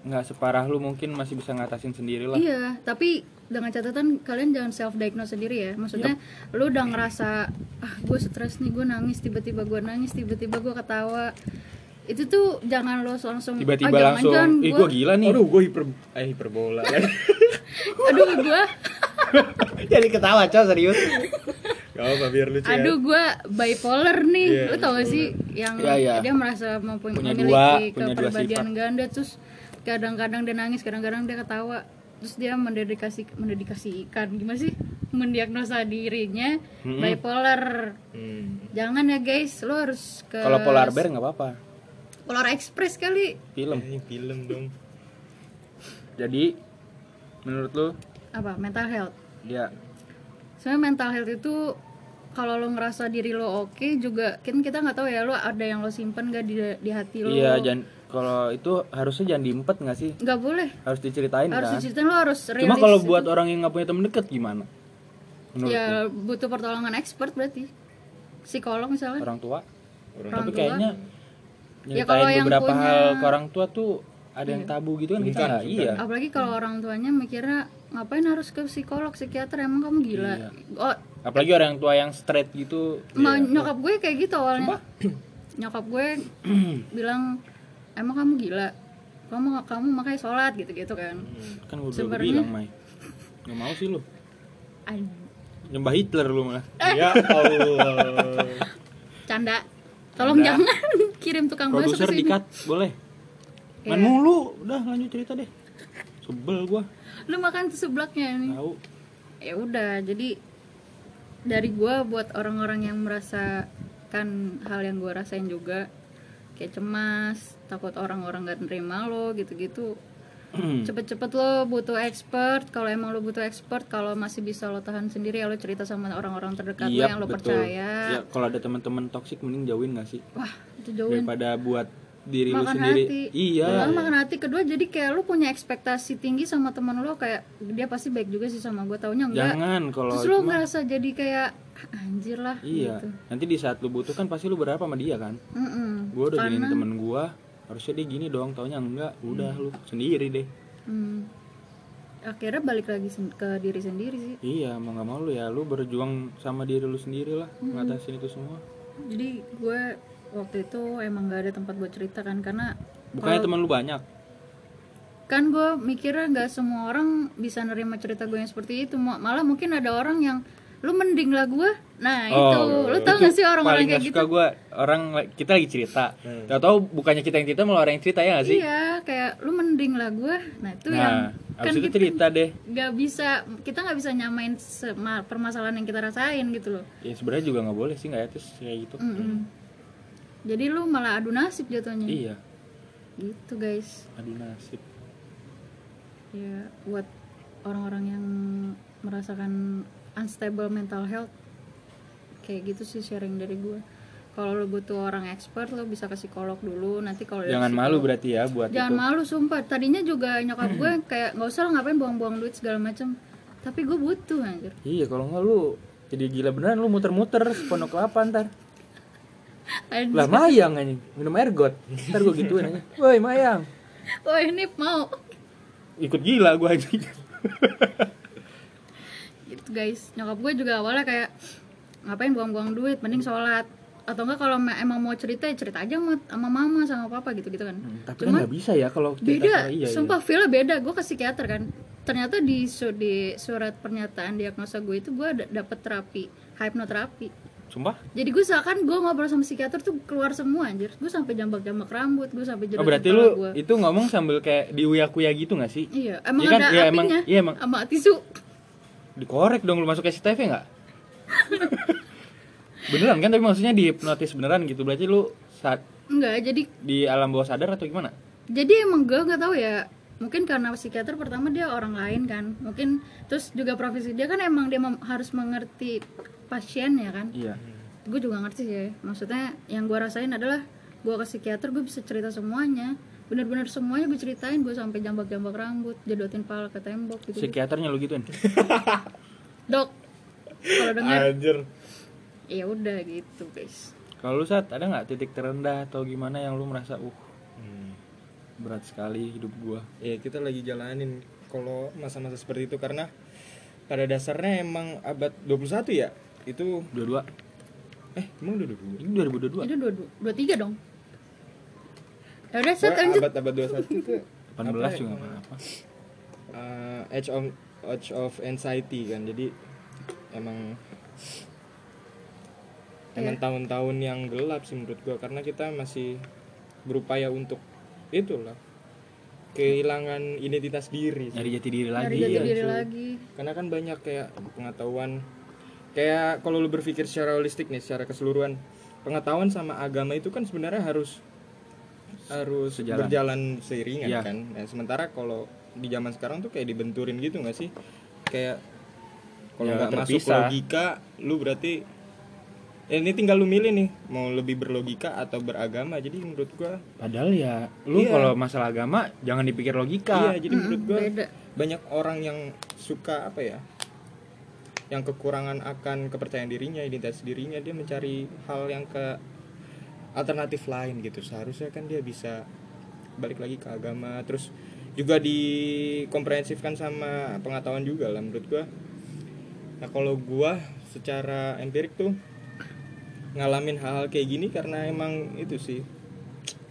Speaker 3: nggak separah lu mungkin masih bisa ngatasin sendiri lah
Speaker 4: Iya, tapi dengan catatan kalian jangan self diagnose sendiri ya. Maksudnya lu udah ngerasa ah gue stres nih, gue nangis tiba-tiba gue nangis tiba-tiba gue ketawa. Itu tuh jangan lo langsung
Speaker 3: tiba-tiba
Speaker 4: "Ah,
Speaker 3: langsung
Speaker 4: jangan-jangan
Speaker 3: ih
Speaker 4: gua-
Speaker 3: gua gila nih
Speaker 1: aduh gue hiper eh hiperbola
Speaker 4: Aduh gue,
Speaker 3: jadi ketawa cow serius
Speaker 1: gak apa biar lucu ya.
Speaker 4: aduh gue bipolar nih.
Speaker 1: Iya,
Speaker 4: lu tau gak sih yang
Speaker 3: Iya, iya.
Speaker 4: dia merasa mempunyai
Speaker 3: Punya
Speaker 4: memiliki
Speaker 3: dua- punya dua
Speaker 4: kepribadian ganda terus kadang-kadang dia nangis, kadang-kadang dia ketawa. Terus dia mendedikasi mendedikasikan gimana sih? mendiagnosa dirinya bipolar.
Speaker 1: Hmm.
Speaker 4: Jangan ya guys, lo harus ke
Speaker 3: kalau polar bear nggak apa-apa
Speaker 4: Polar Express kali.
Speaker 3: film
Speaker 1: Ini film dong
Speaker 3: jadi menurut lu
Speaker 4: Apa? Mental health.
Speaker 3: ya
Speaker 4: Sebenarnya mental health itu kalau lo ngerasa diri lo oke juga kan kita nggak tahu ya lo ada yang lo simpen gak di, di hati lo.
Speaker 3: iya jangan kalau itu harusnya jangan diempet nggak sih
Speaker 4: Nggak boleh.
Speaker 3: harus diceritain
Speaker 4: Harus
Speaker 3: kan
Speaker 4: diceritain lo harus rilis.
Speaker 3: cuma kalau buat orang yang nggak punya temen deket gimana menurut lu?
Speaker 4: ya butuh pertolongan expert berarti. Psikolog misalnya.
Speaker 3: orang tua
Speaker 1: Orang
Speaker 3: tapi
Speaker 4: tua.
Speaker 3: kayaknya
Speaker 4: Ya,
Speaker 3: nyeritain
Speaker 4: kalau yang
Speaker 3: beberapa
Speaker 4: punya- Iya.
Speaker 3: hal ke orang tua tuh ada yang tabu gitu kan kita
Speaker 1: Sungkan,
Speaker 3: nggak
Speaker 1: sungkan.
Speaker 3: iya
Speaker 4: Apalagi kalau orang tuanya mikirnya ngapain harus ke psikolog, psikiater emang kamu gila.
Speaker 3: Iya.
Speaker 4: Oh,
Speaker 3: apalagi orang tua yang straight gitu
Speaker 4: Ma- nyokap gue kayak gitu awalnya nyokap gue bilang emang kamu gila kamu kamu makanya sholat gitu gitu kan
Speaker 3: kan gue udah
Speaker 4: Sebenarnya-
Speaker 3: bilang Mai nggak mau sih lu
Speaker 4: Ay,
Speaker 3: nyembah Hitler lu malah
Speaker 4: Eh.
Speaker 1: ya Allah
Speaker 4: canda tolong
Speaker 3: Canda.
Speaker 4: jangan kirim tukang bakso
Speaker 3: produser
Speaker 4: ke sini
Speaker 3: dikat boleh main
Speaker 4: Iya.
Speaker 3: mulu udah lanjut cerita deh sebel gua
Speaker 4: lu makan tuh seblaknya ini
Speaker 3: tahu
Speaker 4: ya udah jadi dari gue buat orang-orang yang merasakan hal yang gue rasain juga kayak cemas takut orang-orang gak nerima lo gitu-gitu
Speaker 3: Hmm.
Speaker 4: cepet-cepet lo butuh expert kalau emang lo butuh expert kalau masih bisa lo tahan sendiri ya lo cerita sama orang-orang terdekat lo
Speaker 3: Iya,
Speaker 4: yang lo
Speaker 3: betul.
Speaker 4: percaya
Speaker 3: Ya, kalau ada teman-teman toksik mending jauhin gak sih?
Speaker 4: wah itu jauhin
Speaker 3: Daripada buat diri lu
Speaker 4: makan
Speaker 3: sendiri.
Speaker 4: hati
Speaker 3: Iya.
Speaker 4: Pertama, makan hati kedua jadi kayak lo punya ekspektasi tinggi sama teman lo kayak dia pasti baik juga sih sama gue taunya enggak
Speaker 3: Jangan kalau
Speaker 4: terus
Speaker 3: itu
Speaker 4: lo
Speaker 3: mah-
Speaker 4: ngerasa jadi kayak "Ah, anjir lah
Speaker 3: Iya.
Speaker 4: gitu
Speaker 3: Nanti di saat lu butuh kan pasti lu berharap sama dia kan.
Speaker 4: Mm-mm.
Speaker 3: Gua udah giniin temen gua, harusnya dia gini dong, taunya enggak. Udah lu sendiri deh.
Speaker 4: Hmm. akhirnya balik lagi sen- ke diri sendiri sih
Speaker 3: Iya, mau nggak mau lu ya lu berjuang sama diri lu sendiri lah
Speaker 4: Hmm.
Speaker 3: ngatasin itu semua.
Speaker 4: jadi gue waktu itu emang gak ada tempat buat cerita kan karena
Speaker 3: Bukannya teman lu banyak.
Speaker 4: kan gue mikirnya nggak semua orang bisa nerima cerita gue yang seperti itu Mo- malah mungkin ada orang yang lu mending lah gue nah itu lu tau gak sih orang-orang
Speaker 3: Oh, iya. paling
Speaker 4: kayak
Speaker 3: nggak
Speaker 4: gitu
Speaker 3: suka gua orang la- kita lagi cerita. Tahu tahu bukannya kita yang cerita malah orang yang cerita ya gak sih?
Speaker 4: iya kayak lu mending lah gue nah itu
Speaker 3: nah,
Speaker 4: yang
Speaker 3: abis
Speaker 4: kan
Speaker 3: itu
Speaker 4: kita
Speaker 3: cerita deh.
Speaker 4: nggak bisa kita nggak bisa nyamain sema- permasalahan yang kita rasain gitu loh
Speaker 3: Ya sebenarnya juga nggak boleh sih nggak etis kayak gitu.
Speaker 4: Mm-mm. jadi lu malah adu nasib jatuhnya
Speaker 3: Iya,
Speaker 4: gitu guys
Speaker 3: aduh nasib.
Speaker 4: ya buat orang-orang yang merasakan unstable mental health kayak gitu sih sharing dari gue kalau lo butuh orang expert lo bisa ke psikolog dulu nanti Iya kalau dari
Speaker 3: Jangan
Speaker 4: psikolog-
Speaker 3: malu berarti ya buat
Speaker 4: jangan
Speaker 3: itu.
Speaker 4: malu sumpah tadinya juga nyokap gue kayak nggak usah lah ngapain buang-buang duit segala macem tapi gue butuh anjir
Speaker 3: Iya, kalau nggak lu jadi gila beneran lu muter-muter sepondok kelapa ntar.
Speaker 4: Anjir.
Speaker 3: Lah mayang anjing, minum air got. Ntar gua gituin aja. Woi, mayang.
Speaker 4: oh ini mau
Speaker 3: Ikut gila gua anjing.
Speaker 4: gitu guys nyokap gue juga awalnya kayak ngapain buang-buang duit mending sholat atau enggak kalau me- emang mau cerita ya cerita aja sama, sama mama sama papa gitu gitu kan
Speaker 3: Tapi kan
Speaker 4: Cuman-
Speaker 3: nggak bisa ya kalau cerita
Speaker 4: beda
Speaker 3: sama- iya, iya.
Speaker 4: sumpah feelnya beda gue ke psikiater kan ternyata di, su- di surat pernyataan diagnosa gue itu gue ada- dapet terapi hypnoterapi
Speaker 3: Sumpah?
Speaker 4: jadi gue seakan gue ngobrol sama psikiater tuh keluar semua anjir gue sampai jambak-jambak rambut gue
Speaker 3: Oh
Speaker 4: sampai jerawat
Speaker 3: berarti
Speaker 4: kepala
Speaker 3: lu
Speaker 4: gua.
Speaker 3: itu ngomong sambil kayak diuyak-uyak gitu gak sih?
Speaker 4: iya emang
Speaker 3: Iya kan?
Speaker 4: ada
Speaker 3: Iya,
Speaker 4: apinya
Speaker 3: emang- iya, emang.
Speaker 4: sama tisu
Speaker 3: Dikorek dong lu masuk SCTV gak? ya beneran kan tapi maksudnya dihipnotis beneran gitu berarti lu saat
Speaker 4: enggak jadi
Speaker 3: di alam bawah sadar atau gimana?
Speaker 4: jadi emang gue nggak tahu ya mungkin karena psikiater pertama dia orang lain kan mungkin terus juga profesi dia kan emang dia mem- harus mengerti pasien ya kan
Speaker 3: iya
Speaker 4: gue juga ngerti sih maksudnya yang gue rasain adalah gue ke psikiater gue bisa cerita semuanya bener-bener semuanya gue ceritain gue sampai jambak-jambak rambut jodotin pala ke tembok gitu
Speaker 3: psikiaternya lu gituin
Speaker 4: dok kalau dengar
Speaker 1: Anjir.
Speaker 4: ya udah gitu guys
Speaker 3: kalau lu saat ada nggak titik terendah atau gimana yang lu merasa uh berat sekali hidup gua
Speaker 1: Hmm. ya kita lagi jalanin kalau masa-masa seperti itu karena pada dasarnya emang abad 21 ya itu
Speaker 3: dua dua
Speaker 1: eh emang udah 22
Speaker 3: ini 2022
Speaker 4: itu dua dua, dua tiga dong ya udah set
Speaker 1: Soalnya
Speaker 4: lanjut
Speaker 1: abad abad 21 itu
Speaker 3: 18 juga nggak apa-apa
Speaker 1: eh, age of age of anxiety kan jadi emang emang tahun-tahun yang gelap sih menurut gua karena kita masih berupaya untuk itulah kehilangan identitas diri sih.
Speaker 3: nyari jati diri
Speaker 4: dari
Speaker 3: lagi
Speaker 4: jati diri
Speaker 1: cuy.
Speaker 4: lagi
Speaker 1: karena kan banyak kayak pengetahuan kayak kalau lu berpikir secara holistik nih secara keseluruhan pengetahuan sama agama itu kan sebenarnya harus harus
Speaker 3: Sejalan.
Speaker 1: berjalan seiringan
Speaker 3: Iya.
Speaker 1: kan Nah, sementara kalau di zaman sekarang tuh kayak dibenturin gitu nggak sih kayak kalau
Speaker 3: Ya,
Speaker 1: nggak masuk
Speaker 3: terpisah.
Speaker 1: logika lu berarti ya ini tinggal lu milih nih mau lebih berlogika atau beragama jadi menurut gua
Speaker 3: padahal ya lu
Speaker 1: Iya.
Speaker 3: kalau masalah agama jangan dipikir
Speaker 1: iya
Speaker 3: logika
Speaker 1: jadi menurut gua
Speaker 4: beda
Speaker 1: banyak orang yang suka apa ya yang kekurangan akan kepercayaan dirinya identitas dirinya dia mencari hal yang ke alternatif lain gitu seharusnya kan dia bisa balik lagi ke agama terus juga dikomprehensifkan sama pengetahuan juga lah menurut gua nah kalau gua secara empirik tuh ngalamin hal-hal kayak gini karena emang itu sih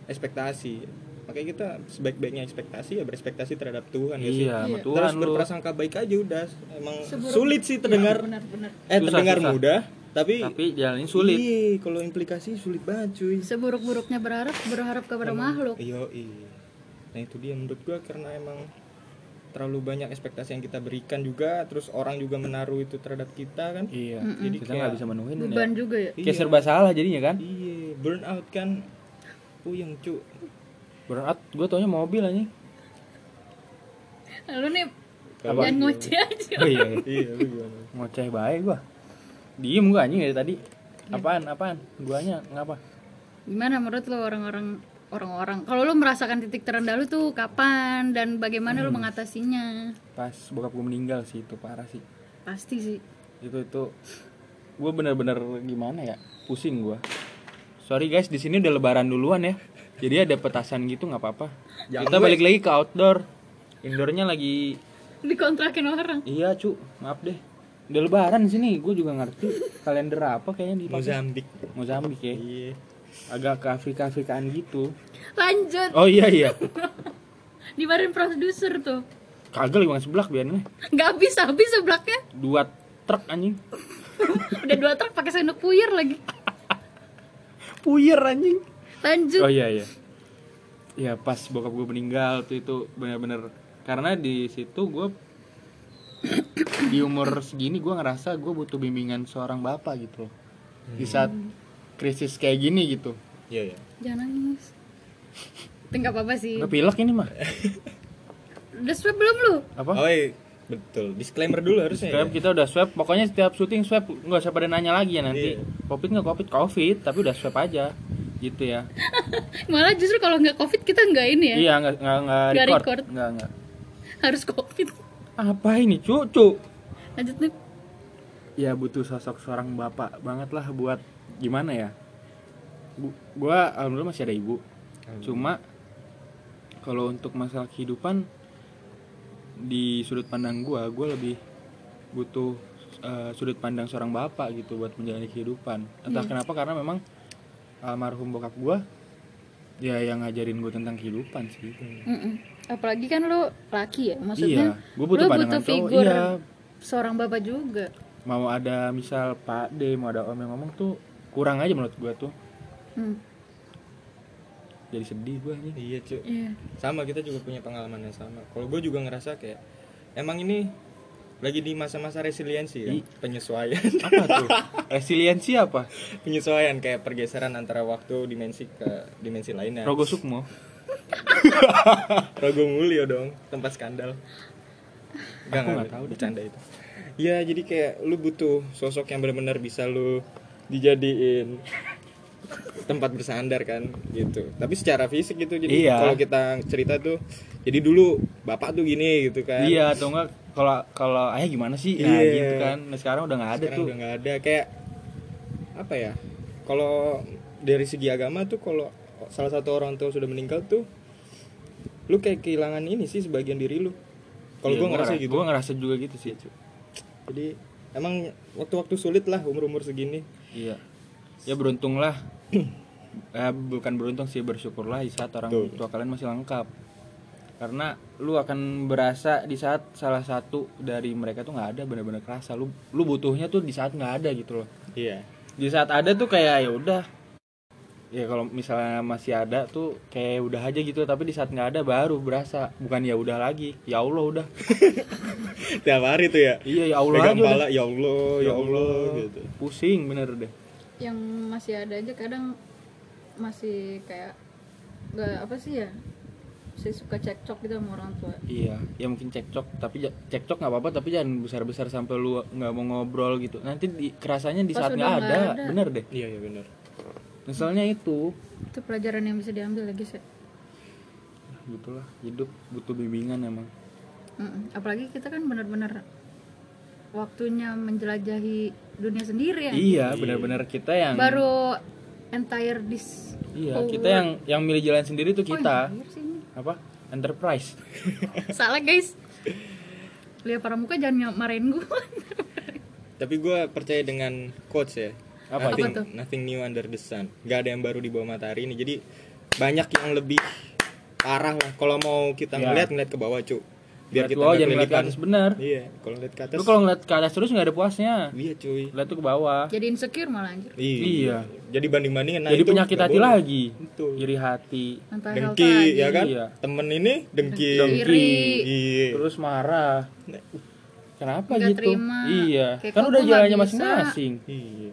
Speaker 1: ekspektasi makanya kita sebaik-baiknya ekspektasi ya berespektasi terhadap Tuhan ya sih
Speaker 3: iya sama
Speaker 4: Iya.
Speaker 3: Tuhan
Speaker 1: terus
Speaker 3: lu
Speaker 1: berprasangka baik aja udah emang
Speaker 4: Seburuk-
Speaker 1: sulit sih terdengar
Speaker 5: benar-benar
Speaker 1: eh
Speaker 3: Susah,
Speaker 1: terdengar
Speaker 3: susah.
Speaker 1: mudah tapi
Speaker 3: tapi jalannya sulit
Speaker 1: Iya, kalau implikasi sulit banget cuy
Speaker 4: seburuk-buruknya berharap berharap kepada makhluk
Speaker 1: Iya, iya. Nah itu dia menurut gua karena emang terlalu banyak ekspektasi yang kita berikan juga, terus orang juga menaruh itu terhadap kita kan.
Speaker 3: iya
Speaker 1: Jadi
Speaker 3: kita
Speaker 1: kayak-
Speaker 3: nggak bisa menuhin ya
Speaker 4: beban juga ya
Speaker 3: kayak serba salah jadinya kan
Speaker 1: Iya, burn out kan. Puyeng cu.
Speaker 3: berat gue taunya mobil aja
Speaker 5: lu nih
Speaker 3: Apa?
Speaker 5: jangan ngoceh aja
Speaker 3: oh iya, iya.
Speaker 1: iya, lu gimana?
Speaker 3: ngoceh baik gua diem gua anjing dari tadi apaan apaan guanya ngapa
Speaker 4: gimana menurut lo orang-orang orang-orang kalau lo merasakan titik terendah lo tuh kapan dan bagaimana lo
Speaker 3: Hmm.
Speaker 4: mengatasinya
Speaker 3: pas bokap gue meninggal sih itu parah sih
Speaker 4: pasti sih
Speaker 3: itu itu gue bener-bener gimana ya pusing gua sorry guys di sini udah lebaran duluan ya jadi ada petasan gitu nggak apa-apa kita balik lagi ke outdoor indoornya lagi
Speaker 4: dikontrakin orang
Speaker 3: iya cu maaf deh udah lebaran di sini gue juga ngerti kalender apa kayaknya di
Speaker 1: Mozambik.
Speaker 3: Mozambik ya
Speaker 1: Iya.
Speaker 3: agak ke Afrika Afrikaan gitu
Speaker 4: lanjut
Speaker 3: oh iya iya
Speaker 4: dibarin produser tuh
Speaker 3: kagak lagi bang seblak biarin lah.
Speaker 4: nggak habis habis seblaknya
Speaker 3: dua truk anjing
Speaker 4: udah dua truk pakai sendok puyir lagi
Speaker 3: puyer anjing
Speaker 4: lanjut
Speaker 3: oh iya iya ya pas bokap gue meninggal tuh itu bener-bener karena di situ gue di umur segini gue ngerasa gue butuh bimbingan seorang bapak gitu loh di saat
Speaker 4: Hmm.
Speaker 3: krisis kayak gini gitu
Speaker 1: Iya, iya.
Speaker 4: jangan nangis Tapi nggak apa-apa sih
Speaker 3: nggak pilek ini mah
Speaker 4: udah swab belum lu
Speaker 3: apa
Speaker 1: Oh, iya. betul. Disclaimer dulu harusnya. ya.
Speaker 3: Swab, kita udah swab pokoknya setiap syuting swab nggak usah pada nanya lagi ya
Speaker 1: Iya.
Speaker 3: nanti covid nggak covid covid tapi udah swab aja gitu ya
Speaker 4: malah justru kalau nggak covid kita nggak ini ya
Speaker 3: iya nggak nggak nggak
Speaker 4: Nggak
Speaker 3: record
Speaker 4: record.
Speaker 3: nggak nggak
Speaker 4: harus covid
Speaker 3: apa ini cucu
Speaker 4: lanjut nih
Speaker 3: ya butuh sosok seorang bapak banget lah buat gimana ya Bu- gua alhamdulillah masih ada ibu cuma kalau untuk masalah kehidupan di sudut pandang gua gua lebih butuh eh, sudut pandang seorang bapak gitu buat menjalani kehidupan
Speaker 4: Hmm.
Speaker 3: entah kenapa karena memang almarhum bokap gua ya yang ngajarin gue tentang kehidupan sih
Speaker 4: Mm-mm. apalagi kan lu laki ya maksudnya
Speaker 3: iya gue butuh
Speaker 4: lu
Speaker 3: pandangan
Speaker 4: butuh
Speaker 3: cowok
Speaker 4: figur
Speaker 3: iya
Speaker 4: seorang bapak juga
Speaker 3: mau ada misal pak D mau ada om yang ngomong tuh kurang aja menurut gua tuh
Speaker 4: Hmm,
Speaker 3: jadi sedih gue nih
Speaker 1: Iya, cu.
Speaker 4: iya.
Speaker 1: sama kita juga punya pengalaman yang sama kalau gue juga ngerasa kayak emang ini lagi di masa-masa resiliensi kan? penyesuaian
Speaker 3: apa tuh resiliensi apa
Speaker 1: penyesuaian kayak pergeseran antara waktu dimensi ke dimensi lainnya
Speaker 3: Rogo Sukmo
Speaker 1: Rogo Mulyo dong, tempat skandal. Enggak
Speaker 3: Aku nggak tahu deh.
Speaker 1: bercanda itu. Iya, jadi kayak lu butuh sosok yang benar-benar bisa lu dijadiin tempat bersandar kan gitu. Tapi secara fisik gitu jadi
Speaker 3: Iya.
Speaker 1: kalau kita cerita tuh jadi dulu bapak tuh gini gitu kan.
Speaker 3: iya atau enggak kalau kalau ayah gimana sih
Speaker 1: Iya.
Speaker 3: nah, gitu kan nah, sekarang udah nggak ada
Speaker 1: Sekarang
Speaker 3: tuh
Speaker 1: udah nggak ada kayak apa ya? Kalau dari segi agama tuh kalau salah satu orang tua sudah meninggal tuh lu kayak kehilangan ini sih sebagian diri lu. Kalau
Speaker 3: Iya,
Speaker 1: gua ngerasa
Speaker 3: ngera-
Speaker 1: gitu.
Speaker 3: gua ngerasa juga gitu sih Cu.
Speaker 1: Jadi emang waktu-waktu sulit lah umur-umur segini.
Speaker 3: iya ya beruntung lah Eh, bukan beruntung sih bersyukurlah di saat orang
Speaker 1: Betul.
Speaker 3: tua kalian masih lengkap karena lu akan berasa di saat salah satu dari mereka tuh nggak ada bener-bener kerasa lu lu butuhnya tuh di saat nggak ada gitu loh
Speaker 1: Iya.
Speaker 3: di saat ada tuh kayak ya udah ya kalau misalnya masih ada tuh kayak udah aja gitu tapi di saat nggak ada baru berasa bukan ya udah lagi ya allah udah
Speaker 1: Tiap hari tuh ya.
Speaker 3: iya ya allah
Speaker 1: Pegang
Speaker 3: aja udah.
Speaker 1: pala, ya Allah, ya Allah gitu.
Speaker 3: pusing bener deh
Speaker 5: yang masih ada aja kadang masih kayak nggak apa sih ya saya suka cekcok gitu sama orang tua
Speaker 3: iya ya mungkin cekcok tapi ja- cekcok nggak apa-apa tapi jangan besar-besar sampai lu nggak mau ngobrol gitu nanti di, kerasanya di
Speaker 5: Pas
Speaker 3: saat
Speaker 5: udah
Speaker 3: nggak
Speaker 5: nggak
Speaker 3: ada,
Speaker 5: ada.
Speaker 3: bener deh
Speaker 1: Iya, iya benar.
Speaker 3: misalnya itu
Speaker 4: itu pelajaran yang bisa diambil lagi sih
Speaker 3: gitulah hidup butuh bimbingan emang
Speaker 4: Mm-mm. apalagi kita kan benar-benar waktunya menjelajahi dunia sendiri ya
Speaker 3: iya benar-benar kita yang
Speaker 4: baru entire this
Speaker 3: iya
Speaker 4: whole
Speaker 3: kita yang yang milih jalan sendiri tuh
Speaker 4: world. Oh,
Speaker 3: kita
Speaker 4: entire sih ini.
Speaker 3: apa enterprise
Speaker 4: salah guys lihat para muka jangan ny- marahin gue
Speaker 1: Tapi gua percaya dengan quotes ya.
Speaker 3: Apa
Speaker 1: nothing,
Speaker 4: tuh?
Speaker 1: nothing new under the sun. Gak ada yang baru di bawah matahari ini. Jadi banyak yang lebih parah lah. Kalau mau kita
Speaker 3: Iya.
Speaker 1: ngeliat ngeliat ke bawah cu. Biar
Speaker 3: Lihat
Speaker 1: kita
Speaker 3: bawah,
Speaker 1: nggak
Speaker 3: jangan ngeliat ke
Speaker 1: kelilipan.
Speaker 3: atas bener
Speaker 1: Iya. Kalau ngeliat ke atas.
Speaker 3: lu kalau ngeliat ke atas terus nggak ada puasnya
Speaker 1: Iya cuy.
Speaker 3: lihat tuh ke bawah
Speaker 4: jadi insecure malah anjir
Speaker 1: Iya. Jadi nah banding bandingin.
Speaker 3: jadi penyakit hati lagi
Speaker 1: Betul.
Speaker 3: iri hati
Speaker 4: mental health
Speaker 1: Dengki ya kan?
Speaker 3: Iya.
Speaker 1: Temen ini dengki.
Speaker 3: Dengki.
Speaker 4: iri
Speaker 1: Iya.
Speaker 3: terus marah kenapa
Speaker 4: Nggak
Speaker 3: gitu
Speaker 4: terima.
Speaker 3: iya
Speaker 4: Kayak
Speaker 3: kan
Speaker 4: kok
Speaker 3: udah
Speaker 4: gua
Speaker 3: jalannya
Speaker 4: nggak bisa.
Speaker 3: masing-masing
Speaker 1: Iya.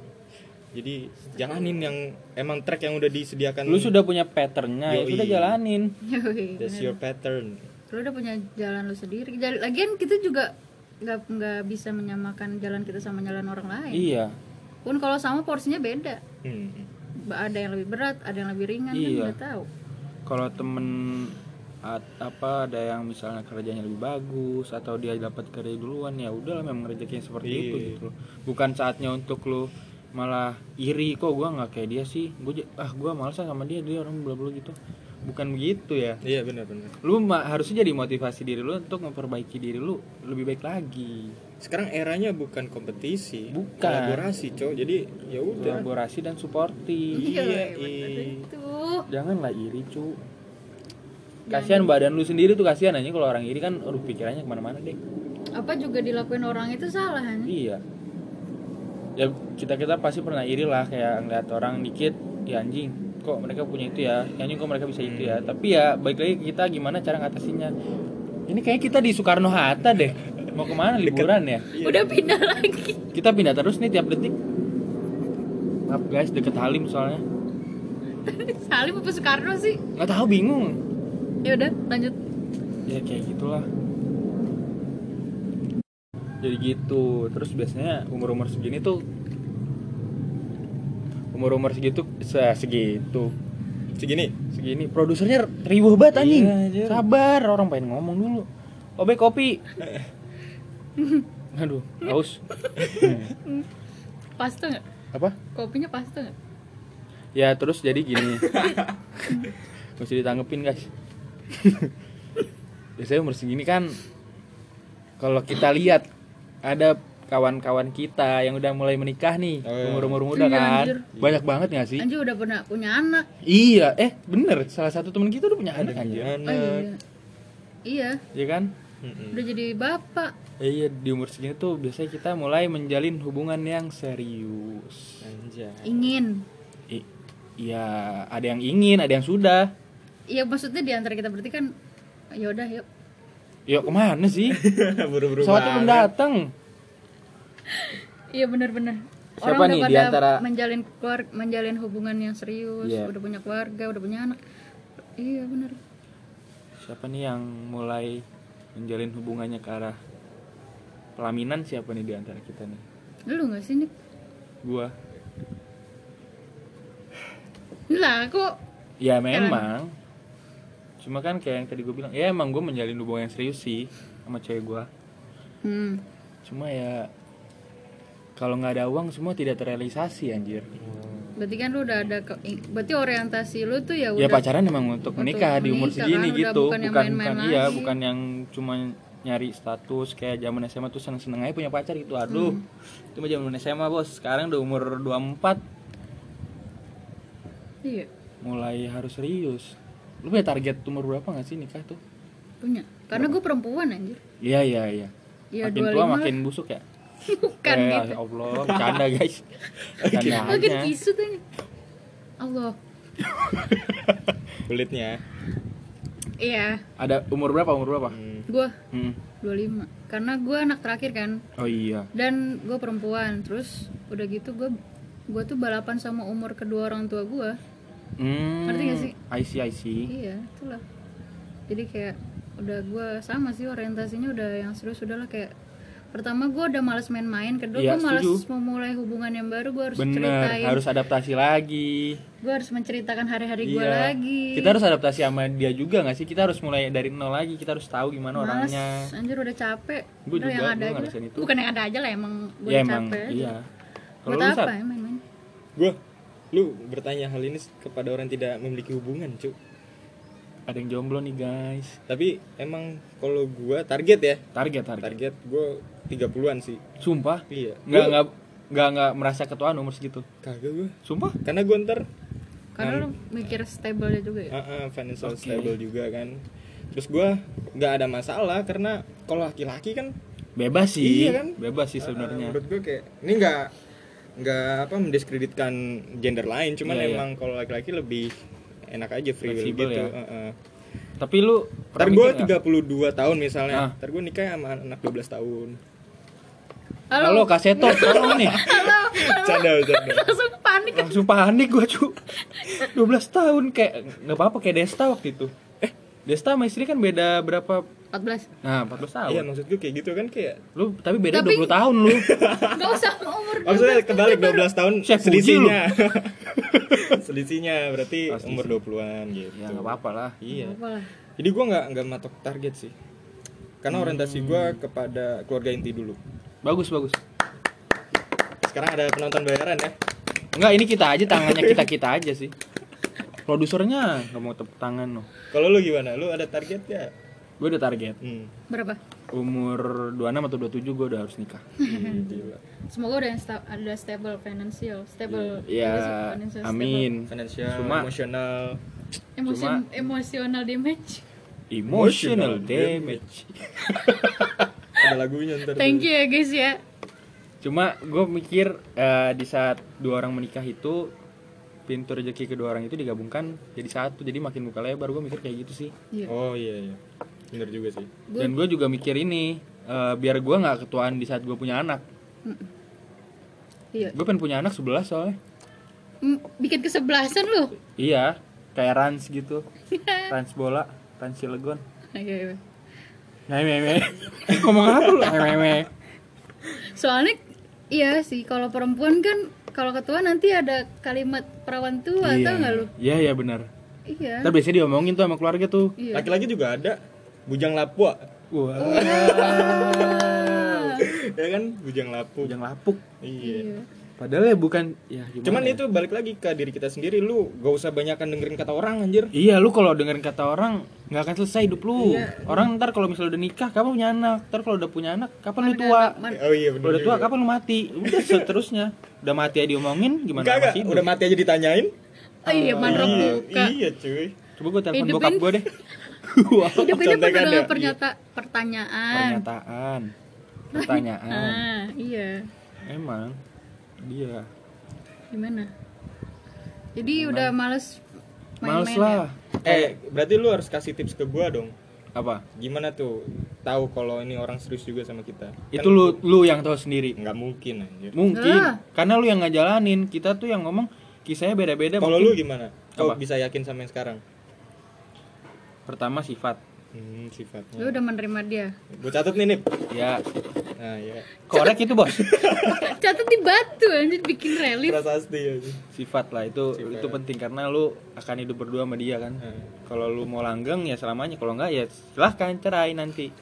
Speaker 1: Jadi jalanin yang emang track yang udah disediakan.
Speaker 3: lu sudah punya patternnya ya
Speaker 1: Yoi.
Speaker 3: sudah jalanin
Speaker 4: Yoi,
Speaker 1: That's
Speaker 4: bener.
Speaker 1: your pattern.
Speaker 4: lu udah punya jalan lu sendiri Jal- lagian kita juga nggak nggak bisa menyamakan jalan kita sama jalan orang lain
Speaker 3: iya
Speaker 4: pun kalau sama porsinya beda
Speaker 1: Hmm.
Speaker 4: Ba- ada yang lebih berat ada yang lebih ringan
Speaker 3: Iya.
Speaker 4: kan nggak tahu
Speaker 3: kalau temen at- apa ada yang misalnya kerjanya lebih bagus atau dia dapat kerja duluan ya udahlah memang rezekinya seperti
Speaker 1: Iya.
Speaker 3: itu gitu loh. bukan saatnya untuk lu malah iri kok gua nggak kayak dia sih gue ah gua males ah sama dia dia orang bla bla gitu bukan begitu ya
Speaker 1: Iya benar-benar.
Speaker 3: lu ma- harusnya jadi motivasi diri lu untuk memperbaiki diri lu lebih baik lagi
Speaker 1: Sekarang eranya bukan kompetisi,
Speaker 3: Bukan.
Speaker 1: kolaborasi, cow. Jadi ya udah.
Speaker 3: kolaborasi dan supporting
Speaker 1: Iya. i-
Speaker 4: itu
Speaker 3: janganlah iri cu kasihan badan lu sendiri tuh kasihan aja kalau orang iri kan aduh pikirannya kemana-mana deh
Speaker 4: apa juga dilakuin orang itu salah kan
Speaker 3: Iya. Ya kita kita pasti pernah iri lah kayak ngeliat orang dikit, ya anjing kok mereka punya itu ya, ya anjing kok mereka bisa itu ya. Tapi ya baik lagi ke kita gimana cara ngatasinnya. Ini kayak kita di Soekarno Hatta deh. Mau kemana liburan ya?
Speaker 4: udah pindah lagi
Speaker 3: Kita pindah terus nih tiap detik. Maaf guys deket Halim soalnya.
Speaker 4: Salim apa Soekarno sih
Speaker 3: Nggak tahu bingung.
Speaker 4: ya udah lanjut
Speaker 3: Ya kayak gitulah. Jadi gitu. Terus biasanya umur-umur segini tuh umur-umur segitu se- segitu
Speaker 1: iya. Segini.
Speaker 3: segini produsernya riuh banget anjing
Speaker 1: Iya, anjir.
Speaker 3: sabar orang pengen ngomong dulu obek kopi aduh haus
Speaker 5: pasta nggak
Speaker 3: apa
Speaker 5: kopinya pasta nggak
Speaker 3: ya terus jadi gini mesti ditanggepin guys biasanya umur segini kan kalau kita lihat ada kawan-kawan kita yang udah mulai menikah nih
Speaker 1: Oh, iya.
Speaker 3: umur-umur muda
Speaker 4: Iya,
Speaker 3: kan
Speaker 4: anjir.
Speaker 3: banyak banget gak sih
Speaker 4: anjir udah pernah punya anak
Speaker 3: iya eh bener salah satu temen kita udah punya anak anjir
Speaker 4: oh, iya.
Speaker 1: Anak.
Speaker 4: iya
Speaker 3: ya kan
Speaker 1: Mm-mm.
Speaker 4: udah jadi bapak
Speaker 3: Ya iya di umur segini tuh biasanya kita mulai menjalin hubungan yang serius.
Speaker 1: Anjay.
Speaker 4: ingin
Speaker 3: I- Iya ada yang ingin, ada yang sudah.
Speaker 4: ya maksudnya di antara kita berarti kan ya udah yuk
Speaker 3: Yuk kemana sih?
Speaker 1: Buru-buru
Speaker 3: Pesawatnya belum
Speaker 1: banget.
Speaker 3: datang.
Speaker 4: iya benar-benar
Speaker 3: Siapa
Speaker 4: orang
Speaker 3: nih
Speaker 4: udah
Speaker 3: di
Speaker 4: pada
Speaker 3: antara-
Speaker 4: menjalin keluar menjalin hubungan yang serius
Speaker 3: Iya.
Speaker 4: udah punya keluarga udah punya anak iya benar
Speaker 3: siapa nih yang mulai menjalin hubungannya ke arah pelaminan siapa nih di antara kita nih
Speaker 4: Lu gak sih, Nick?
Speaker 3: gua
Speaker 4: Lah, kok
Speaker 3: ya memang cuma kan kayak yang tadi gue bilang ya emang gue menjalin hubungan yang serius sih sama cewek gua
Speaker 4: Hmm.
Speaker 3: cuma ya kalau nggak ada uang semua tidak terrealisasi anjir
Speaker 4: Berarti kan lu udah ada ke, i- berarti orientasi lu tuh ya udah
Speaker 3: ya pacaran emang untuk menikah di umur
Speaker 4: menikah
Speaker 3: segini
Speaker 4: kan, udah
Speaker 3: gitu
Speaker 4: bukan yang
Speaker 3: bukan
Speaker 4: main-main
Speaker 3: bukan iya
Speaker 4: lagi.
Speaker 3: bukan yang cuma nyari status kayak zaman SMA tuh seneng-seneng aja punya pacar gitu aduh
Speaker 4: Hmm.
Speaker 3: itu mah zaman SMA bos sekarang udah umur 24
Speaker 4: Iya,
Speaker 3: mulai harus serius lu punya target umur berapa nggak sih nikah tuh
Speaker 4: punya. Karena gue perempuan anjir.
Speaker 3: iya iya iya
Speaker 4: Ya,
Speaker 3: makin
Speaker 4: 25
Speaker 3: tua
Speaker 4: lah.
Speaker 3: makin busuk ya
Speaker 4: Bukan
Speaker 3: eh,
Speaker 4: gitu.
Speaker 3: ya Allah bercanda guys bercanda
Speaker 4: Makin
Speaker 3: aja
Speaker 4: kisut aja. Allah.
Speaker 1: kulitnya
Speaker 4: Iya,
Speaker 3: ada umur berapa umur berapa
Speaker 4: gua
Speaker 3: Hmm.
Speaker 4: 25. Karena gua anak terakhir kan.
Speaker 3: oh iya
Speaker 4: Dan gue perempuan. Terus udah gitu gue gue tuh balapan sama umur kedua orang tua gua
Speaker 3: hmm.
Speaker 4: Ngerti nggak sih?
Speaker 3: I see I see
Speaker 4: Iya, itulah. Jadi kayak udah gue sama sih orientasinya udah yang serius udahlah kayak pertama gue udah malas main-main, kedua
Speaker 3: Iya,
Speaker 4: gue malas
Speaker 3: setuju.
Speaker 4: memulai hubungan yang baru, gue harus
Speaker 3: Bener,
Speaker 4: ceritain,
Speaker 3: harus adaptasi lagi.
Speaker 4: gue harus menceritakan hari-hari gue
Speaker 3: Iya.
Speaker 4: lagi.
Speaker 3: Kita harus adaptasi sama dia juga nggak sih? Kita harus mulai dari nol lagi. Kita harus tahu gimana
Speaker 4: Males,
Speaker 3: kan orangnya.
Speaker 4: anjir udah capek.
Speaker 3: Gua
Speaker 4: udah
Speaker 3: juga,
Speaker 4: yang ada
Speaker 3: gua
Speaker 4: aja.
Speaker 3: ngerasain
Speaker 4: lah.
Speaker 3: itu.
Speaker 4: Bukan yang ada aja lah emang
Speaker 3: ya
Speaker 4: gue udah
Speaker 3: emang,
Speaker 4: capek.
Speaker 3: iya. Kalau
Speaker 4: Buat
Speaker 3: lu
Speaker 4: apa
Speaker 3: Sat,
Speaker 4: ya main-main?
Speaker 1: gue lu bertanya hal ini kepada orang yang tidak memiliki hubungan cu
Speaker 3: ada yang jomblo nih guys.
Speaker 1: tapi emang kalau gue target ya
Speaker 3: Target, target.
Speaker 1: target gue 30-an sih
Speaker 3: Sumpah,
Speaker 1: iya
Speaker 3: nggak
Speaker 1: Gua-
Speaker 3: nggak nggak nggak merasa ketuaan umur segitu.
Speaker 1: kagak gue
Speaker 3: Sumpah,
Speaker 1: karena gue ntar
Speaker 4: Karena lu mikir stable juga ya.
Speaker 1: uh, uh, financial stable juga kan terus gue nggak ada masalah karena kalau laki-laki kan
Speaker 3: bebas sih,
Speaker 1: Iya kan?
Speaker 3: bebas sih
Speaker 1: uh,
Speaker 3: sebenarnya.
Speaker 1: menurut gue kayak ini nggak nggak apa mendiskreditkan gender lain cuman
Speaker 3: Iya, iya.
Speaker 1: emang kalau laki-laki lebih enak aja free will
Speaker 3: Fleksibel
Speaker 1: gitu
Speaker 3: ya.
Speaker 1: uh, uh.
Speaker 3: Tapi lu
Speaker 1: Ntar
Speaker 3: pernah
Speaker 1: gue
Speaker 3: mikir ya? nggak?
Speaker 1: 32 tahun misalnya
Speaker 3: Ah.
Speaker 1: Ntar gue nikah sama anak 12 tahun
Speaker 3: Halo, Kak Seto, tolong nih.
Speaker 1: Canda, canda
Speaker 4: Langsung panik
Speaker 3: Langsung panik gua, cu. 12 tahun kayak nggak apa-apa kayak Desta waktu itu. Eh, Desta sama istri kan beda berapa
Speaker 4: 14.
Speaker 3: Nah, 14 tahun.
Speaker 1: Iya maksud gue kayak gitu kan kayak
Speaker 3: Lu tapi beda
Speaker 4: Tapi-
Speaker 3: 20 tahun lu.
Speaker 4: Gak usah sama umur
Speaker 1: Maksudnya kebalik 12 tahun
Speaker 3: Chef Fuji
Speaker 1: selisihnya Selisihnya berarti
Speaker 3: Oh, selisih.
Speaker 1: umur 20-an gitu
Speaker 3: ya enggak apa-apa lah.
Speaker 1: Iya
Speaker 4: Apa lah.
Speaker 1: Jadi gue nggak nggak matok target sih Karena orientasi gue
Speaker 3: Hmm.
Speaker 1: kepada keluarga inti dulu
Speaker 3: Bagus, bagus.
Speaker 1: Sekarang ada penonton bayaran ya
Speaker 3: Enggak, ini kita aja tangannya kita-kita aja sih. Produsernya nggak mau tepuk tangan loh.
Speaker 1: Kalau lu gimana? Lu ada target ya?
Speaker 3: Gue udah target
Speaker 1: Hmm.
Speaker 4: Berapa?
Speaker 3: umur 26 atau 27 gue udah harus nikah.
Speaker 1: Gila.
Speaker 5: Semoga udah yang sta- ada stable financial,
Speaker 4: Iya,
Speaker 5: stable.
Speaker 3: Ya,
Speaker 5: Apa sih, financial stable.
Speaker 3: amin.
Speaker 1: Financial,
Speaker 3: Cuma-
Speaker 1: emosional
Speaker 5: Emosi- emosional damage.
Speaker 3: Emotional damage.
Speaker 1: Ada lagunya ntar
Speaker 4: Thank you ya guys ya.
Speaker 3: Cuma gue mikir eh, di saat dua orang menikah itu pintu rezeki kedua orang itu digabungkan jadi satu jadi makin buka lebar gue mikir kayak gitu sih
Speaker 1: Oh iya iya Bener juga sih
Speaker 3: dan gue juga mikir ini eh, biar gue nggak ketuaan di saat gue punya anak
Speaker 4: Iya.
Speaker 3: gue pengen punya anak 11 soalnya
Speaker 4: Mm, Bikin kesebelasan lu.
Speaker 3: Iya, kayak Rans gitu. Rans bola, Rans Cilegon.
Speaker 4: Iya, iya.
Speaker 3: Meme. Ngomong apa lu? Meme.
Speaker 4: Soalnya iya sih kalau perempuan kan kalau ketua nanti ada kalimat perawan tua tau nggak lu?
Speaker 3: Iya, iya benar.
Speaker 4: Iya.
Speaker 3: Ntar biasanya diomongin tuh sama keluarga tuh.
Speaker 4: Iya.
Speaker 1: Laki-laki juga ada Bujang Lapua
Speaker 4: Oh.
Speaker 3: Wah,
Speaker 1: Ya kan? Bujang Lapu
Speaker 3: yang lapuk.
Speaker 1: Iya
Speaker 3: Padahal ya bukan ya gimana
Speaker 1: Cuman
Speaker 3: ya?
Speaker 1: itu balik lagi ke diri kita sendiri Lu gak usah banyakan dengerin kata orang anjir
Speaker 3: Iya, lu kalau dengerin kata orang nggak akan selesai hidup lu.
Speaker 4: Iya.
Speaker 3: Orang ntar kalau misalnya udah nikah, kapan punya anak? Ntar kalau udah punya anak, kapan lu tua?
Speaker 4: Man-
Speaker 1: Oh iya
Speaker 3: Kalau
Speaker 1: bener
Speaker 3: udah tua, kapan lu mati? Udah seterusnya. Udah mati aja diomongin, gimana
Speaker 1: Enggak, enggak.
Speaker 3: masih hidup?
Speaker 1: Udah mati aja ditanyain.
Speaker 4: oh iya manrok
Speaker 1: iya,
Speaker 4: buka.
Speaker 1: iya, cuy.
Speaker 3: Coba gue telepon
Speaker 4: Hidupin-
Speaker 3: bokap gue deh. Wah.
Speaker 4: Hidup ini
Speaker 1: Contekan
Speaker 4: penuh dengan
Speaker 1: ya?
Speaker 4: pernyata pertanyaan.
Speaker 3: Pernyataan. Pertanyaan.
Speaker 4: Ah, iya.
Speaker 3: Emang Iya. dia
Speaker 4: Gimana? Jadi udah males
Speaker 3: males
Speaker 4: main-main ya?
Speaker 3: lah.
Speaker 1: Eh, berarti lu harus kasih tips ke gua dong.
Speaker 3: Apa?
Speaker 1: Gimana tuh tahu kalau ini orang serius juga sama kita? Kan
Speaker 3: Itu lu lu yang tahu sendiri.
Speaker 1: Enggak mungkin anjir.
Speaker 3: Mungkin
Speaker 4: Ah.
Speaker 3: karena lu yang ngejalanin, kita tuh yang ngomong kisahnya beda-beda.
Speaker 1: Kalau lu
Speaker 3: mungkin.
Speaker 1: gimana? Kau
Speaker 3: Apa?
Speaker 1: bisa yakin sama yang sekarang?
Speaker 3: pertama sifat,
Speaker 1: Hmm, sifatnya.
Speaker 4: Lu udah menerima dia.
Speaker 1: Gue catat nih, Nip.
Speaker 3: Ya,
Speaker 1: Nah, ya.
Speaker 3: korek itu bos.
Speaker 4: Catat di batu anjir bikin relief.
Speaker 1: Prasasti ya.
Speaker 3: Sifat lah itu itu penting karena lu akan hidup berdua sama dia kan.
Speaker 1: Nah.
Speaker 3: Kalau lu mau langgeng ya selamanya, kalau enggak ya silahkan cerai nanti.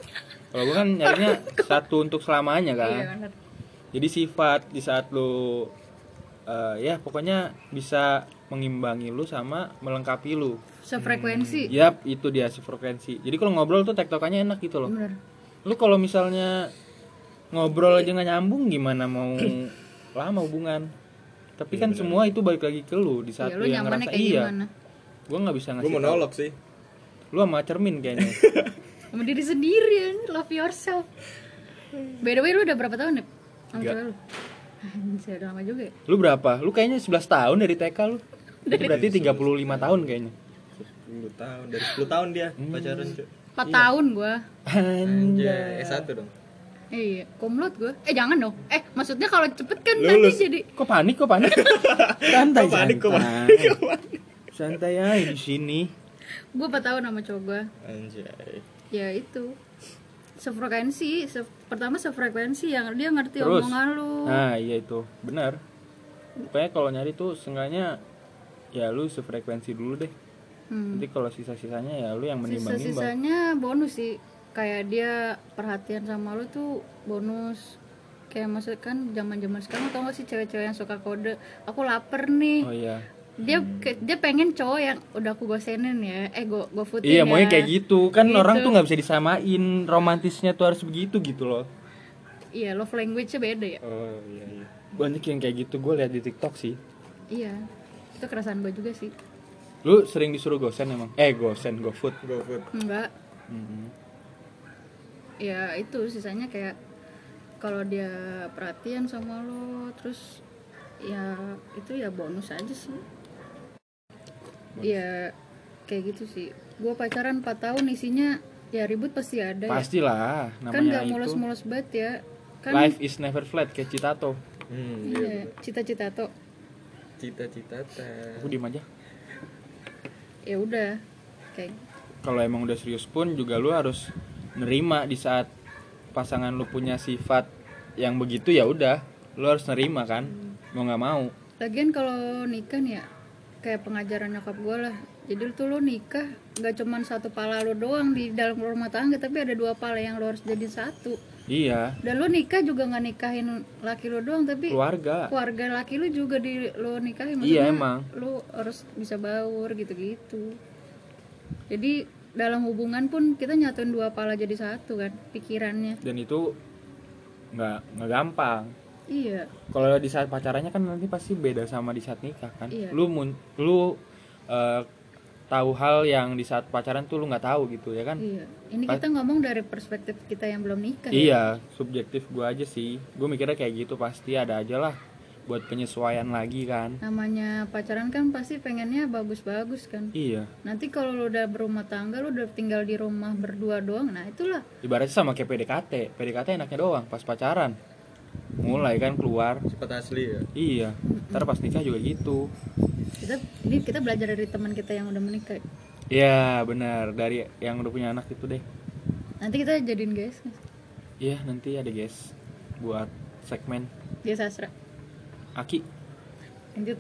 Speaker 3: Kalau gue kan nyarinya satu untuk selamanya kan.
Speaker 4: Iya benar.
Speaker 3: Jadi sifat di saat lu eh, ya pokoknya bisa mengimbangi lu sama melengkapi lu.
Speaker 4: Sefrekuensi.
Speaker 3: Yap, itu dia sefrekuensi. Jadi kalau ngobrol tuh tektokannya enak gitu loh.
Speaker 4: Benar.
Speaker 3: Lu kalau misalnya ngobrol aja nggak nyambung gimana mau lama hubungan? Tapi
Speaker 1: Iya,
Speaker 3: kan semua itu balik lagi ke lu di saat
Speaker 4: Iya,
Speaker 3: lu
Speaker 4: lu
Speaker 3: yang
Speaker 4: nyamannya
Speaker 3: ngerasa
Speaker 4: kayak
Speaker 3: iya.
Speaker 4: gimana?
Speaker 3: Gua nggak bisa ngasih.
Speaker 1: Gue monolog sih.
Speaker 3: tau. Lu sama cermin kayaknya.
Speaker 4: Sama diri sendiri anjir, love yourself. By the way, lu udah berapa tahun, Nip? Sama
Speaker 3: Tiga.
Speaker 4: cewek lu. Anjir, udah lama juga ya.
Speaker 3: lu berapa? Lu kayaknya 11 tahun dari TK lu. Itu berarti 35 tahun kayaknya.
Speaker 1: 10 tahun, dari 10 tahun dia pacaran, cuy.
Speaker 4: 4 tahun gua.
Speaker 1: Anjay, S1 dong.
Speaker 4: Eh, iya, komplot gua. Eh, jangan dong. Eh, maksudnya kalau cepet kan
Speaker 1: Lulus.
Speaker 4: nanti jadi
Speaker 3: Kok panik, kok panik? santai,
Speaker 1: Kok panik, kok
Speaker 3: santai. Santai aja di sini.
Speaker 4: gua 4 tahun sama cowok gua.
Speaker 1: Anjay.
Speaker 4: Ya itu. Sefrekuensi, se- pertama sefrekuensi yang dia ngerti
Speaker 3: Terus.
Speaker 4: omongan lu.
Speaker 3: Nah, iya itu. Benar. Pokoknya kalau nyari tuh seenggaknya ya lu sefrekuensi dulu deh.
Speaker 4: Hmm.
Speaker 3: Nanti kalau sisa-sisanya ya lu yang menimbang-nimbang.
Speaker 4: Sisa-sisanya bonus sih. Kayak dia perhatian sama lu tuh bonus. Kayak maksud kan zaman-zaman sekarang tau gak sih cewek-cewek yang suka kode, aku lapar nih.
Speaker 3: Oh iya.
Speaker 4: Dia ke- dia pengen cowok yang udah aku gosenin ya. Eh go go footin
Speaker 3: Iya,
Speaker 4: ya.
Speaker 3: maunya kayak gitu. Kan
Speaker 4: Gitu.
Speaker 3: orang tuh nggak bisa disamain romantisnya tuh harus begitu gitu loh.
Speaker 4: Iya, love language-nya beda ya.
Speaker 3: Oh iya iya. Banyak yang kayak gitu gue lihat di TikTok sih.
Speaker 4: Iya. Itu keresahan gue juga sih.
Speaker 3: Lu sering disuruh gosen emang? Eh, gosen, gofood.
Speaker 1: Go food.
Speaker 4: Enggak.
Speaker 3: Mhm.
Speaker 4: ya itu sisanya kayak kalau dia perhatian sama lo terus ya itu ya bonus aja sih ya kayak gitu sih gue pacaran 4 tahun isinya ya ribut pasti ada ya.
Speaker 3: Pastilah
Speaker 4: kan
Speaker 3: namanya
Speaker 4: nggak
Speaker 3: itu.
Speaker 4: mulus-mulus banget ya kan
Speaker 3: Life is never flat kayak Citato.
Speaker 1: Hmm.
Speaker 4: iya cita-cita tuh
Speaker 1: Cita-cita ta.
Speaker 3: Aku diem aja.
Speaker 4: ya udah kayak
Speaker 3: Kalau emang udah serius pun juga lu harus nerima di saat pasangan lu punya sifat yang begitu ya udah, lu harus nerima kan.
Speaker 4: Hmm.
Speaker 3: Mau nggak mau.
Speaker 4: Lagian kalau nikah nih ya kayak pengajaran nyokap gue lah. Jadi tuh lo nikah gak cuman satu pala lo doang di dalam rumah tangga tapi ada dua pala yang lo harus jadi satu.
Speaker 3: Iya,
Speaker 4: Dan lo nikah juga gak nikahin laki lo doang tapi
Speaker 3: keluarga.
Speaker 4: keluarga laki lo juga di lo nikahin.
Speaker 3: Iya,
Speaker 4: Maksudnya,
Speaker 3: emang.
Speaker 4: Lo harus bisa baur gitu-gitu. Jadi dalam hubungan pun kita nyatuin dua pala jadi satu kan pikirannya.
Speaker 3: Dan itu nggak nggak gampang.
Speaker 4: Iya.
Speaker 3: Kalau di saat pacarannya kan nanti pasti beda sama di saat nikah kan.
Speaker 4: Iya.
Speaker 3: Lu mun, lu eh, tahu hal yang di saat pacaran tuh lu nggak tahu gitu ya kan.
Speaker 4: Iya. Ini
Speaker 3: Pas-
Speaker 4: kita ngomong dari perspektif kita yang belum nikah. ya.
Speaker 3: Iya, subjektif gue aja sih. Gue mikirnya kayak gitu pasti ada aja lah buat penyesuaian lagi kan.
Speaker 4: namanya pacaran kan pasti pengennya bagus-bagus kan
Speaker 3: Iya.
Speaker 4: nanti kalau lu udah berumah tangga lu udah tinggal di rumah berdua doang nah itulah
Speaker 3: Ibaratnya sama kayak PDKT. PDKT enaknya doang pas pacaran. Mulai kan keluar.
Speaker 1: Sifat asli ya.
Speaker 3: Iya. Ntar pas nikah juga gitu.
Speaker 4: kita ini kita belajar dari teman kita yang udah menikah
Speaker 3: Iya benar dari yang udah punya anak itu deh.
Speaker 4: nanti kita jadiin guys
Speaker 3: Iya nanti ada guys buat segmen
Speaker 4: dia sastra
Speaker 3: Aki.
Speaker 4: lanjut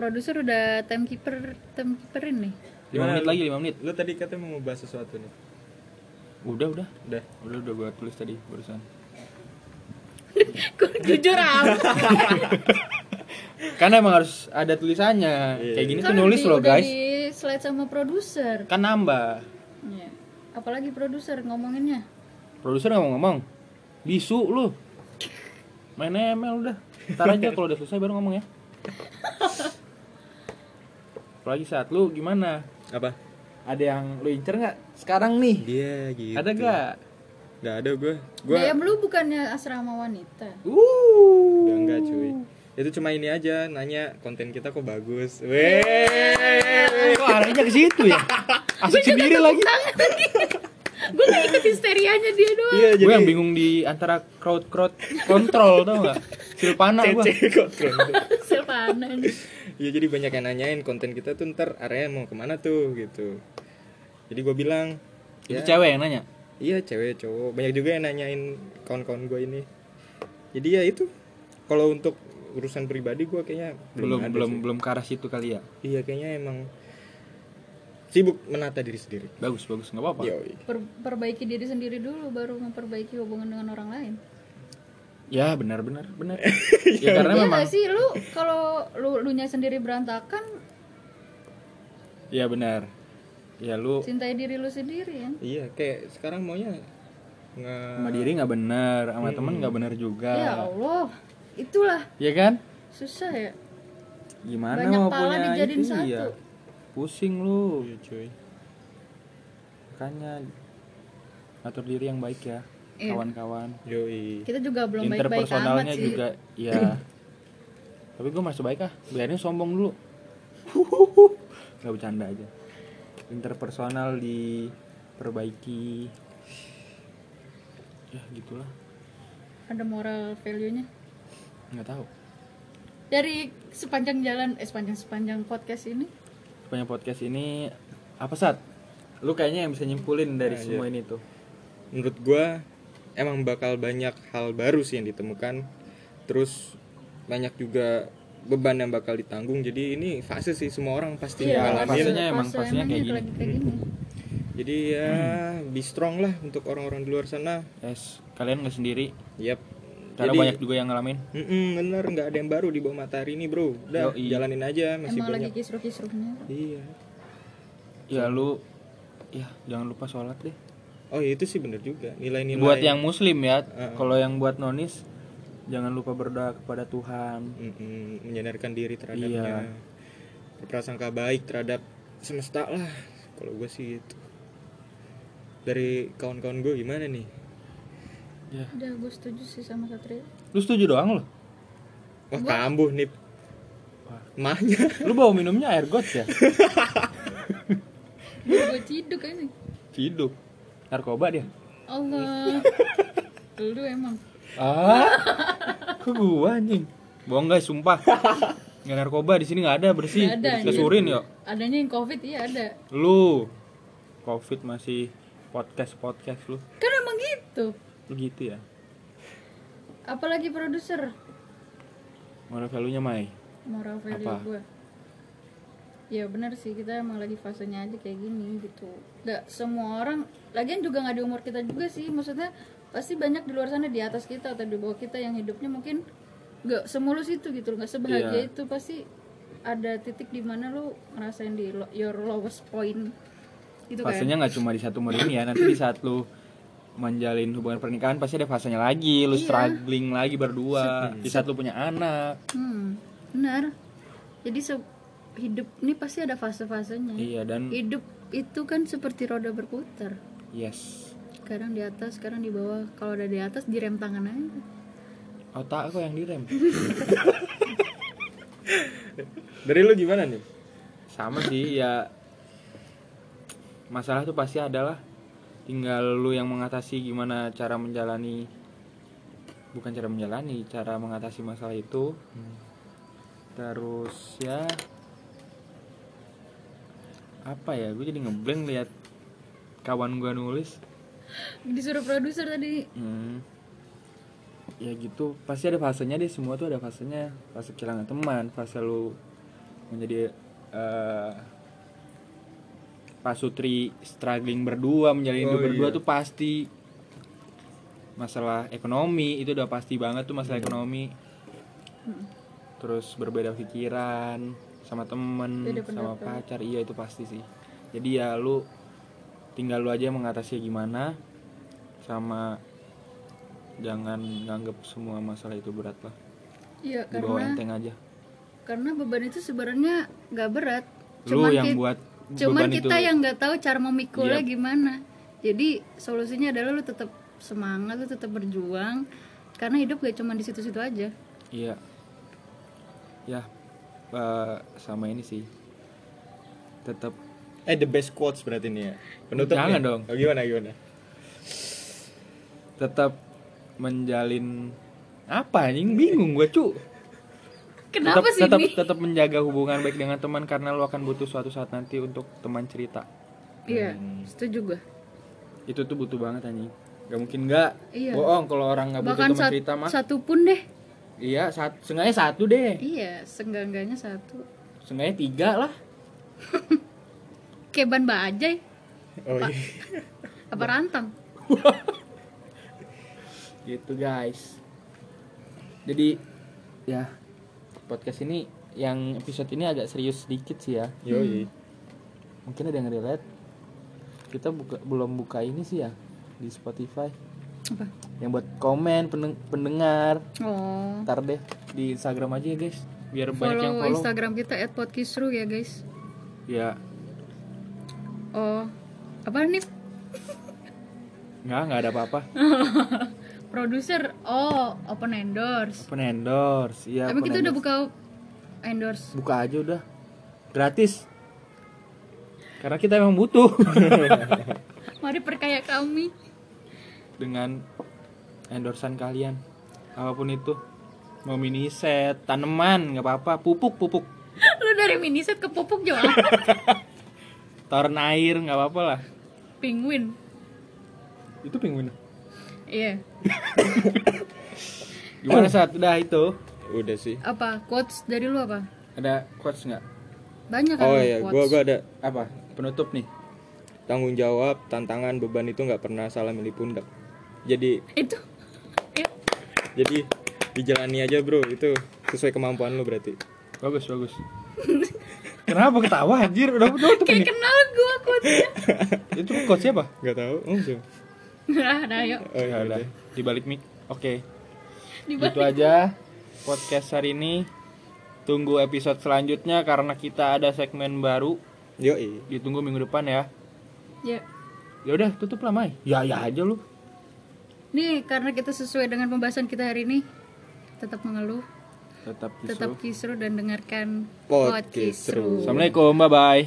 Speaker 4: produser udah timekeeper timekeeperin nih
Speaker 3: 5 menit lagi 5 menit.
Speaker 1: Lu tadi katanya mau ngebahas sesuatu nih.
Speaker 3: Udah udah.
Speaker 1: Udah.
Speaker 3: Udah udah gue tulis tadi barusan.
Speaker 4: Gua jujur apa
Speaker 3: Karena emang harus ada tulisannya. Kayak gini tuh nulis loh guys.
Speaker 4: di slide sama produser
Speaker 3: Kan nambah.
Speaker 4: Iya. apalagi produser ngomonginnya
Speaker 3: Produser nggak mau ngomong. Bisu lu. Main ML udah. Ntar aja kalau udah selesai baru ngomong ya. Apalagi saat lu gimana?
Speaker 1: Apa?
Speaker 3: Ada yang lu incer nggak sekarang nih?
Speaker 1: Dia gitu.
Speaker 3: Ada gak?
Speaker 1: Gak ada gue. Gue
Speaker 4: Dayam lu bukannya asrama wanita
Speaker 3: Uh.
Speaker 1: Udah enggak cuy Itu cuma ini aja nanya konten kita kok bagus Iya, Weh
Speaker 3: Kok arahnya ke situ ya? Asik sendiri lagi.
Speaker 4: gue gak ikut histerianya dia doang
Speaker 1: Iya
Speaker 3: Gue
Speaker 1: jadi
Speaker 3: yang bingung di antara crowd crowd kontrol tau gak? Silvana gue.
Speaker 1: Kok keren.
Speaker 4: Silvana
Speaker 1: Iya jadi banyak yang nanyain konten kita tuh ntar arahnya mau kemana tuh gitu jadi gue bilang
Speaker 3: Itu
Speaker 1: ya,
Speaker 3: cewek yang nanya.
Speaker 1: iya cewek cowok banyak juga yang nanyain kawan-kawan gue ini jadi ya itu kalau untuk urusan pribadi gue kayaknya
Speaker 3: Belum
Speaker 1: ada
Speaker 3: belum
Speaker 1: sih.
Speaker 3: belum ke arah situ kali ya.
Speaker 1: iya kayaknya emang sibuk menata diri sendiri
Speaker 3: Bagus bagus nggak apa-apa.
Speaker 1: Yoi.
Speaker 4: Per- perbaiki diri sendiri dulu baru memperbaiki hubungan dengan orang lain
Speaker 3: Ya benar benar benar. ya karena
Speaker 4: Iya
Speaker 3: memang.
Speaker 4: nggak sih lu kalau lu lu sendiri berantakan
Speaker 3: Ya benar. Ya lu
Speaker 4: cintai diri lu sendiri kan
Speaker 1: iya kayak sekarang maunya nge
Speaker 3: sama diri nggak benar, sama temen nggak benar juga.
Speaker 4: ya Allah itulah
Speaker 3: Ya kan?
Speaker 4: susah ya
Speaker 3: Gimana
Speaker 4: Banyak
Speaker 3: mau
Speaker 4: pala
Speaker 3: punya
Speaker 4: dijadiin
Speaker 3: itu
Speaker 4: satu.
Speaker 3: ya? Pusing lu.
Speaker 1: Iya, cuy
Speaker 3: Makanya atur diri yang baik ya.
Speaker 4: Iya.
Speaker 3: Kawan-kawan.
Speaker 1: yoi
Speaker 4: kita juga belum baik-baik amat
Speaker 3: Interpersonalnya
Speaker 4: sih
Speaker 3: juga ya. Tapi gue masih baik ah. Biarin sombong dulu. nggak bercanda aja. Interpersonal diperbaiki. Ya gitulah.
Speaker 4: ada moral value-nya
Speaker 3: nggak tahu
Speaker 4: dari sepanjang jalan eh sepanjang sepanjang podcast ini
Speaker 3: punya podcast ini apa saat lu kayaknya yang bisa nyimpulin dari semua ini tuh
Speaker 1: menurut gue emang bakal banyak hal baru sih yang ditemukan terus banyak juga beban yang bakal ditanggung jadi ini fase sih semua orang pasti
Speaker 3: Iya,
Speaker 1: ngalamin
Speaker 3: fasenya emang- fasenya kayak
Speaker 4: emang
Speaker 3: gini.
Speaker 4: kan lagi kayak gini
Speaker 1: jadi ya be strong lah untuk orang-orang di luar sana
Speaker 3: es kalian nggak sendiri
Speaker 1: yep
Speaker 3: karena
Speaker 1: Jadi-
Speaker 3: banyak juga yang ngalamin
Speaker 1: Mm-mm, bener nggak ada yang baru di bawah matahari ini bro udah
Speaker 3: Yoi.
Speaker 1: jalanin aja masih
Speaker 4: emang lagi
Speaker 1: banyak
Speaker 4: kisruh-kisruhnya
Speaker 1: iya
Speaker 3: ya lu ya jangan lupa sholat deh
Speaker 1: oh iya, itu sih bener juga nilai-nilai
Speaker 3: buat yang muslim ya kalau yang buat nonis jangan lupa berdoa kepada Tuhan
Speaker 1: Mm-mm, menyadarkan diri terhadapnya
Speaker 3: Iya.
Speaker 1: berprasangka baik terhadap semesta lah kalau gue sih gitu dari kawan-kawan gue gimana nih
Speaker 4: udah gue setuju sih sama Satria
Speaker 3: lu setuju doang lu
Speaker 1: wah kambuh nih
Speaker 3: Wah.
Speaker 1: mahnya
Speaker 3: lu bawa minumnya air got ya
Speaker 4: gue ciduk ini
Speaker 3: hidup narkoba dia
Speaker 4: Allah lu emang
Speaker 3: ah kok gua anjing bohong guys sumpah nggak narkoba di sini nggak ada bersih
Speaker 4: Nggak ada, anjing.
Speaker 3: Kesurin yuk
Speaker 4: adanya yang covid iya ada
Speaker 3: lu covid masih podcast podcast lu
Speaker 4: kan emang gitu
Speaker 3: lu gitu ya
Speaker 4: apalagi produser
Speaker 3: moral value nya mai
Speaker 4: moral value
Speaker 3: Apa?
Speaker 4: gue ya benar sih kita emang lagi fasenya aja kayak gini gitu nggak semua orang lagian juga nggak di umur kita juga sih maksudnya pasti banyak di luar sana di atas kita atau di bawah kita yang hidupnya mungkin nggak semulus itu gitu nggak sebahagia itu pasti ada titik di mana lu ngerasain di lo- your lowest point gitu kan
Speaker 3: fasenya nggak cuma di satu momen ini ya nanti di saat lu menjalin hubungan pernikahan pasti ada fasenya lagi
Speaker 4: Iya.
Speaker 3: lu struggling lagi berdua di saat lu punya anak
Speaker 4: hmm benar jadi se- hidup ini pasti ada fase-fasenya
Speaker 3: iya dan
Speaker 4: hidup itu kan seperti roda berputar
Speaker 3: yes
Speaker 4: sekarang di atas sekarang di bawah kalau udah di atas direm tangan aja
Speaker 3: otak aku yang direm
Speaker 1: dari lu gimana nih
Speaker 3: sama sih ya masalah tuh pasti ada lah tinggal lu yang mengatasi gimana cara menjalani bukan cara menjalani cara mengatasi masalah itu
Speaker 1: Hmm.
Speaker 3: terus ya apa ya gue jadi ngeblank lihat kawan gue nulis
Speaker 4: disuruh produser tadi
Speaker 3: Hmm. Ya gitu, pasti ada fasenya deh, semua tuh ada fasenya. Fase kehilangan teman, fase lu menjadi eh pasutri struggling berdua, menjalin hidup
Speaker 1: Oh,
Speaker 3: berdua
Speaker 1: iya.
Speaker 3: tuh pasti masalah ekonomi itu udah pasti banget tuh
Speaker 1: Iya.
Speaker 3: masalah ekonomi. Terus berbeda pikiran sama temen,
Speaker 4: Beda
Speaker 3: sama
Speaker 4: pendapat.
Speaker 3: pacar, iya itu pasti sih. Jadi ya lu tinggal lu aja mengatasi gimana sama jangan nganggep semua masalah itu berat lah
Speaker 4: ya
Speaker 3: dibawa
Speaker 4: karena
Speaker 3: enteng aja
Speaker 4: karena beban itu sebenarnya nggak berat
Speaker 3: lu yang
Speaker 4: ki-
Speaker 3: buat
Speaker 4: cuman
Speaker 3: beban
Speaker 4: kita
Speaker 3: itu
Speaker 4: yang nggak tahu cara memikulnya gimana jadi solusinya adalah lu tetap semangat lu tetap berjuang karena hidup gak cuma di situ-situ aja
Speaker 3: iya ya eh, sama ini sih tetap
Speaker 1: eh the best quotes berarti nih ya penutupnya
Speaker 3: Jangan dong.
Speaker 1: oh, gimana gimana
Speaker 3: tetap menjalin apa anjing bingung gue cu
Speaker 4: kenapa
Speaker 3: tetap,
Speaker 4: sih
Speaker 3: tetap
Speaker 4: ini
Speaker 3: tetap menjaga hubungan baik dengan teman karena lu akan butuh suatu saat nanti untuk teman cerita
Speaker 4: Iya,
Speaker 3: Hmm.
Speaker 4: setuju gue.
Speaker 3: itu tuh butuh banget anjing gak mungkin nggak
Speaker 4: Iya.
Speaker 3: bohong kalau orang nggak butuh
Speaker 4: Bahkan
Speaker 3: teman
Speaker 4: sat-
Speaker 3: cerita mah
Speaker 4: satu pun deh.
Speaker 3: iya satu sengaja satu deh
Speaker 4: Iya, senggangganya satu.
Speaker 3: sengaja tiga lah
Speaker 4: Kayak ban bajai
Speaker 1: Oh iya.
Speaker 4: apa rantang?
Speaker 3: gitu guys jadi ya podcast ini yang episode ini agak serius sedikit sih ya
Speaker 1: Yoi.
Speaker 3: mungkin ada yang relate kita buka belum buka ini sih ya di Spotify
Speaker 4: Apa?
Speaker 3: yang buat komen pendeng- pendengar
Speaker 4: Oh.
Speaker 3: ntar deh di Instagram aja ya guys biar banyak yang
Speaker 4: Follow,
Speaker 3: follow
Speaker 4: Instagram kita @podkisru ya, guys.
Speaker 3: ya
Speaker 4: Oh. Apa nih?
Speaker 3: nggak nggak ada apa-apa
Speaker 4: Produser. Oh, open endorse.
Speaker 3: penendors ya
Speaker 4: Tapi kita udah buka endorse.
Speaker 3: buka aja udah gratis karena kita emang butuh
Speaker 4: Mari perkaya kami.
Speaker 3: dengan endorsan kalian apapun itu mau mini set tanaman nggak apa-apa pupuk pupuk
Speaker 4: Lu dari miniset ke pupuk jauh
Speaker 3: taruhan air nggak apa-apa lah
Speaker 4: Penguin.
Speaker 3: itu penguin
Speaker 4: Iya.
Speaker 3: gimana saat udah itu
Speaker 1: Udah sih.
Speaker 4: Apa quotes dari lu apa?
Speaker 3: ada quotes nggak
Speaker 4: Banyak kan
Speaker 1: Oh
Speaker 4: lu
Speaker 1: iya, gua
Speaker 4: quotes.
Speaker 1: gua ada
Speaker 3: apa penutup nih
Speaker 1: tanggung jawab, tantangan, beban itu nggak pernah salah milih pundak. Jadi
Speaker 4: Itu. Iya.
Speaker 1: jadi dijalani aja bro itu sesuai kemampuan lu berarti.
Speaker 3: bagus bagus kenapa ketawa anjir udah penutup
Speaker 4: Kayak
Speaker 3: ini
Speaker 4: kenal gua quotesnya.
Speaker 3: itu quotes siapa
Speaker 1: Gak tahu? Oh, siapa?
Speaker 4: nah, nah, yuk.
Speaker 1: Oh, iya,
Speaker 3: udah
Speaker 1: udah.
Speaker 3: di balik mic oke
Speaker 4: Dibalik.
Speaker 3: gitu aja podcast hari ini tunggu episode selanjutnya karena kita ada segmen baru
Speaker 1: Yoi.
Speaker 3: ditunggu minggu depan ya
Speaker 4: Ya.
Speaker 3: ya udah tutup lah Mai ya ya aja lu
Speaker 4: Nih, karena kita sesuai dengan pembahasan kita hari ini, tetap mengeluh,
Speaker 3: tetap
Speaker 4: tetap kisru dan dengarkan
Speaker 1: Pod
Speaker 4: Pod Kisru.
Speaker 1: Kisru.
Speaker 3: assalamualaikum bye bye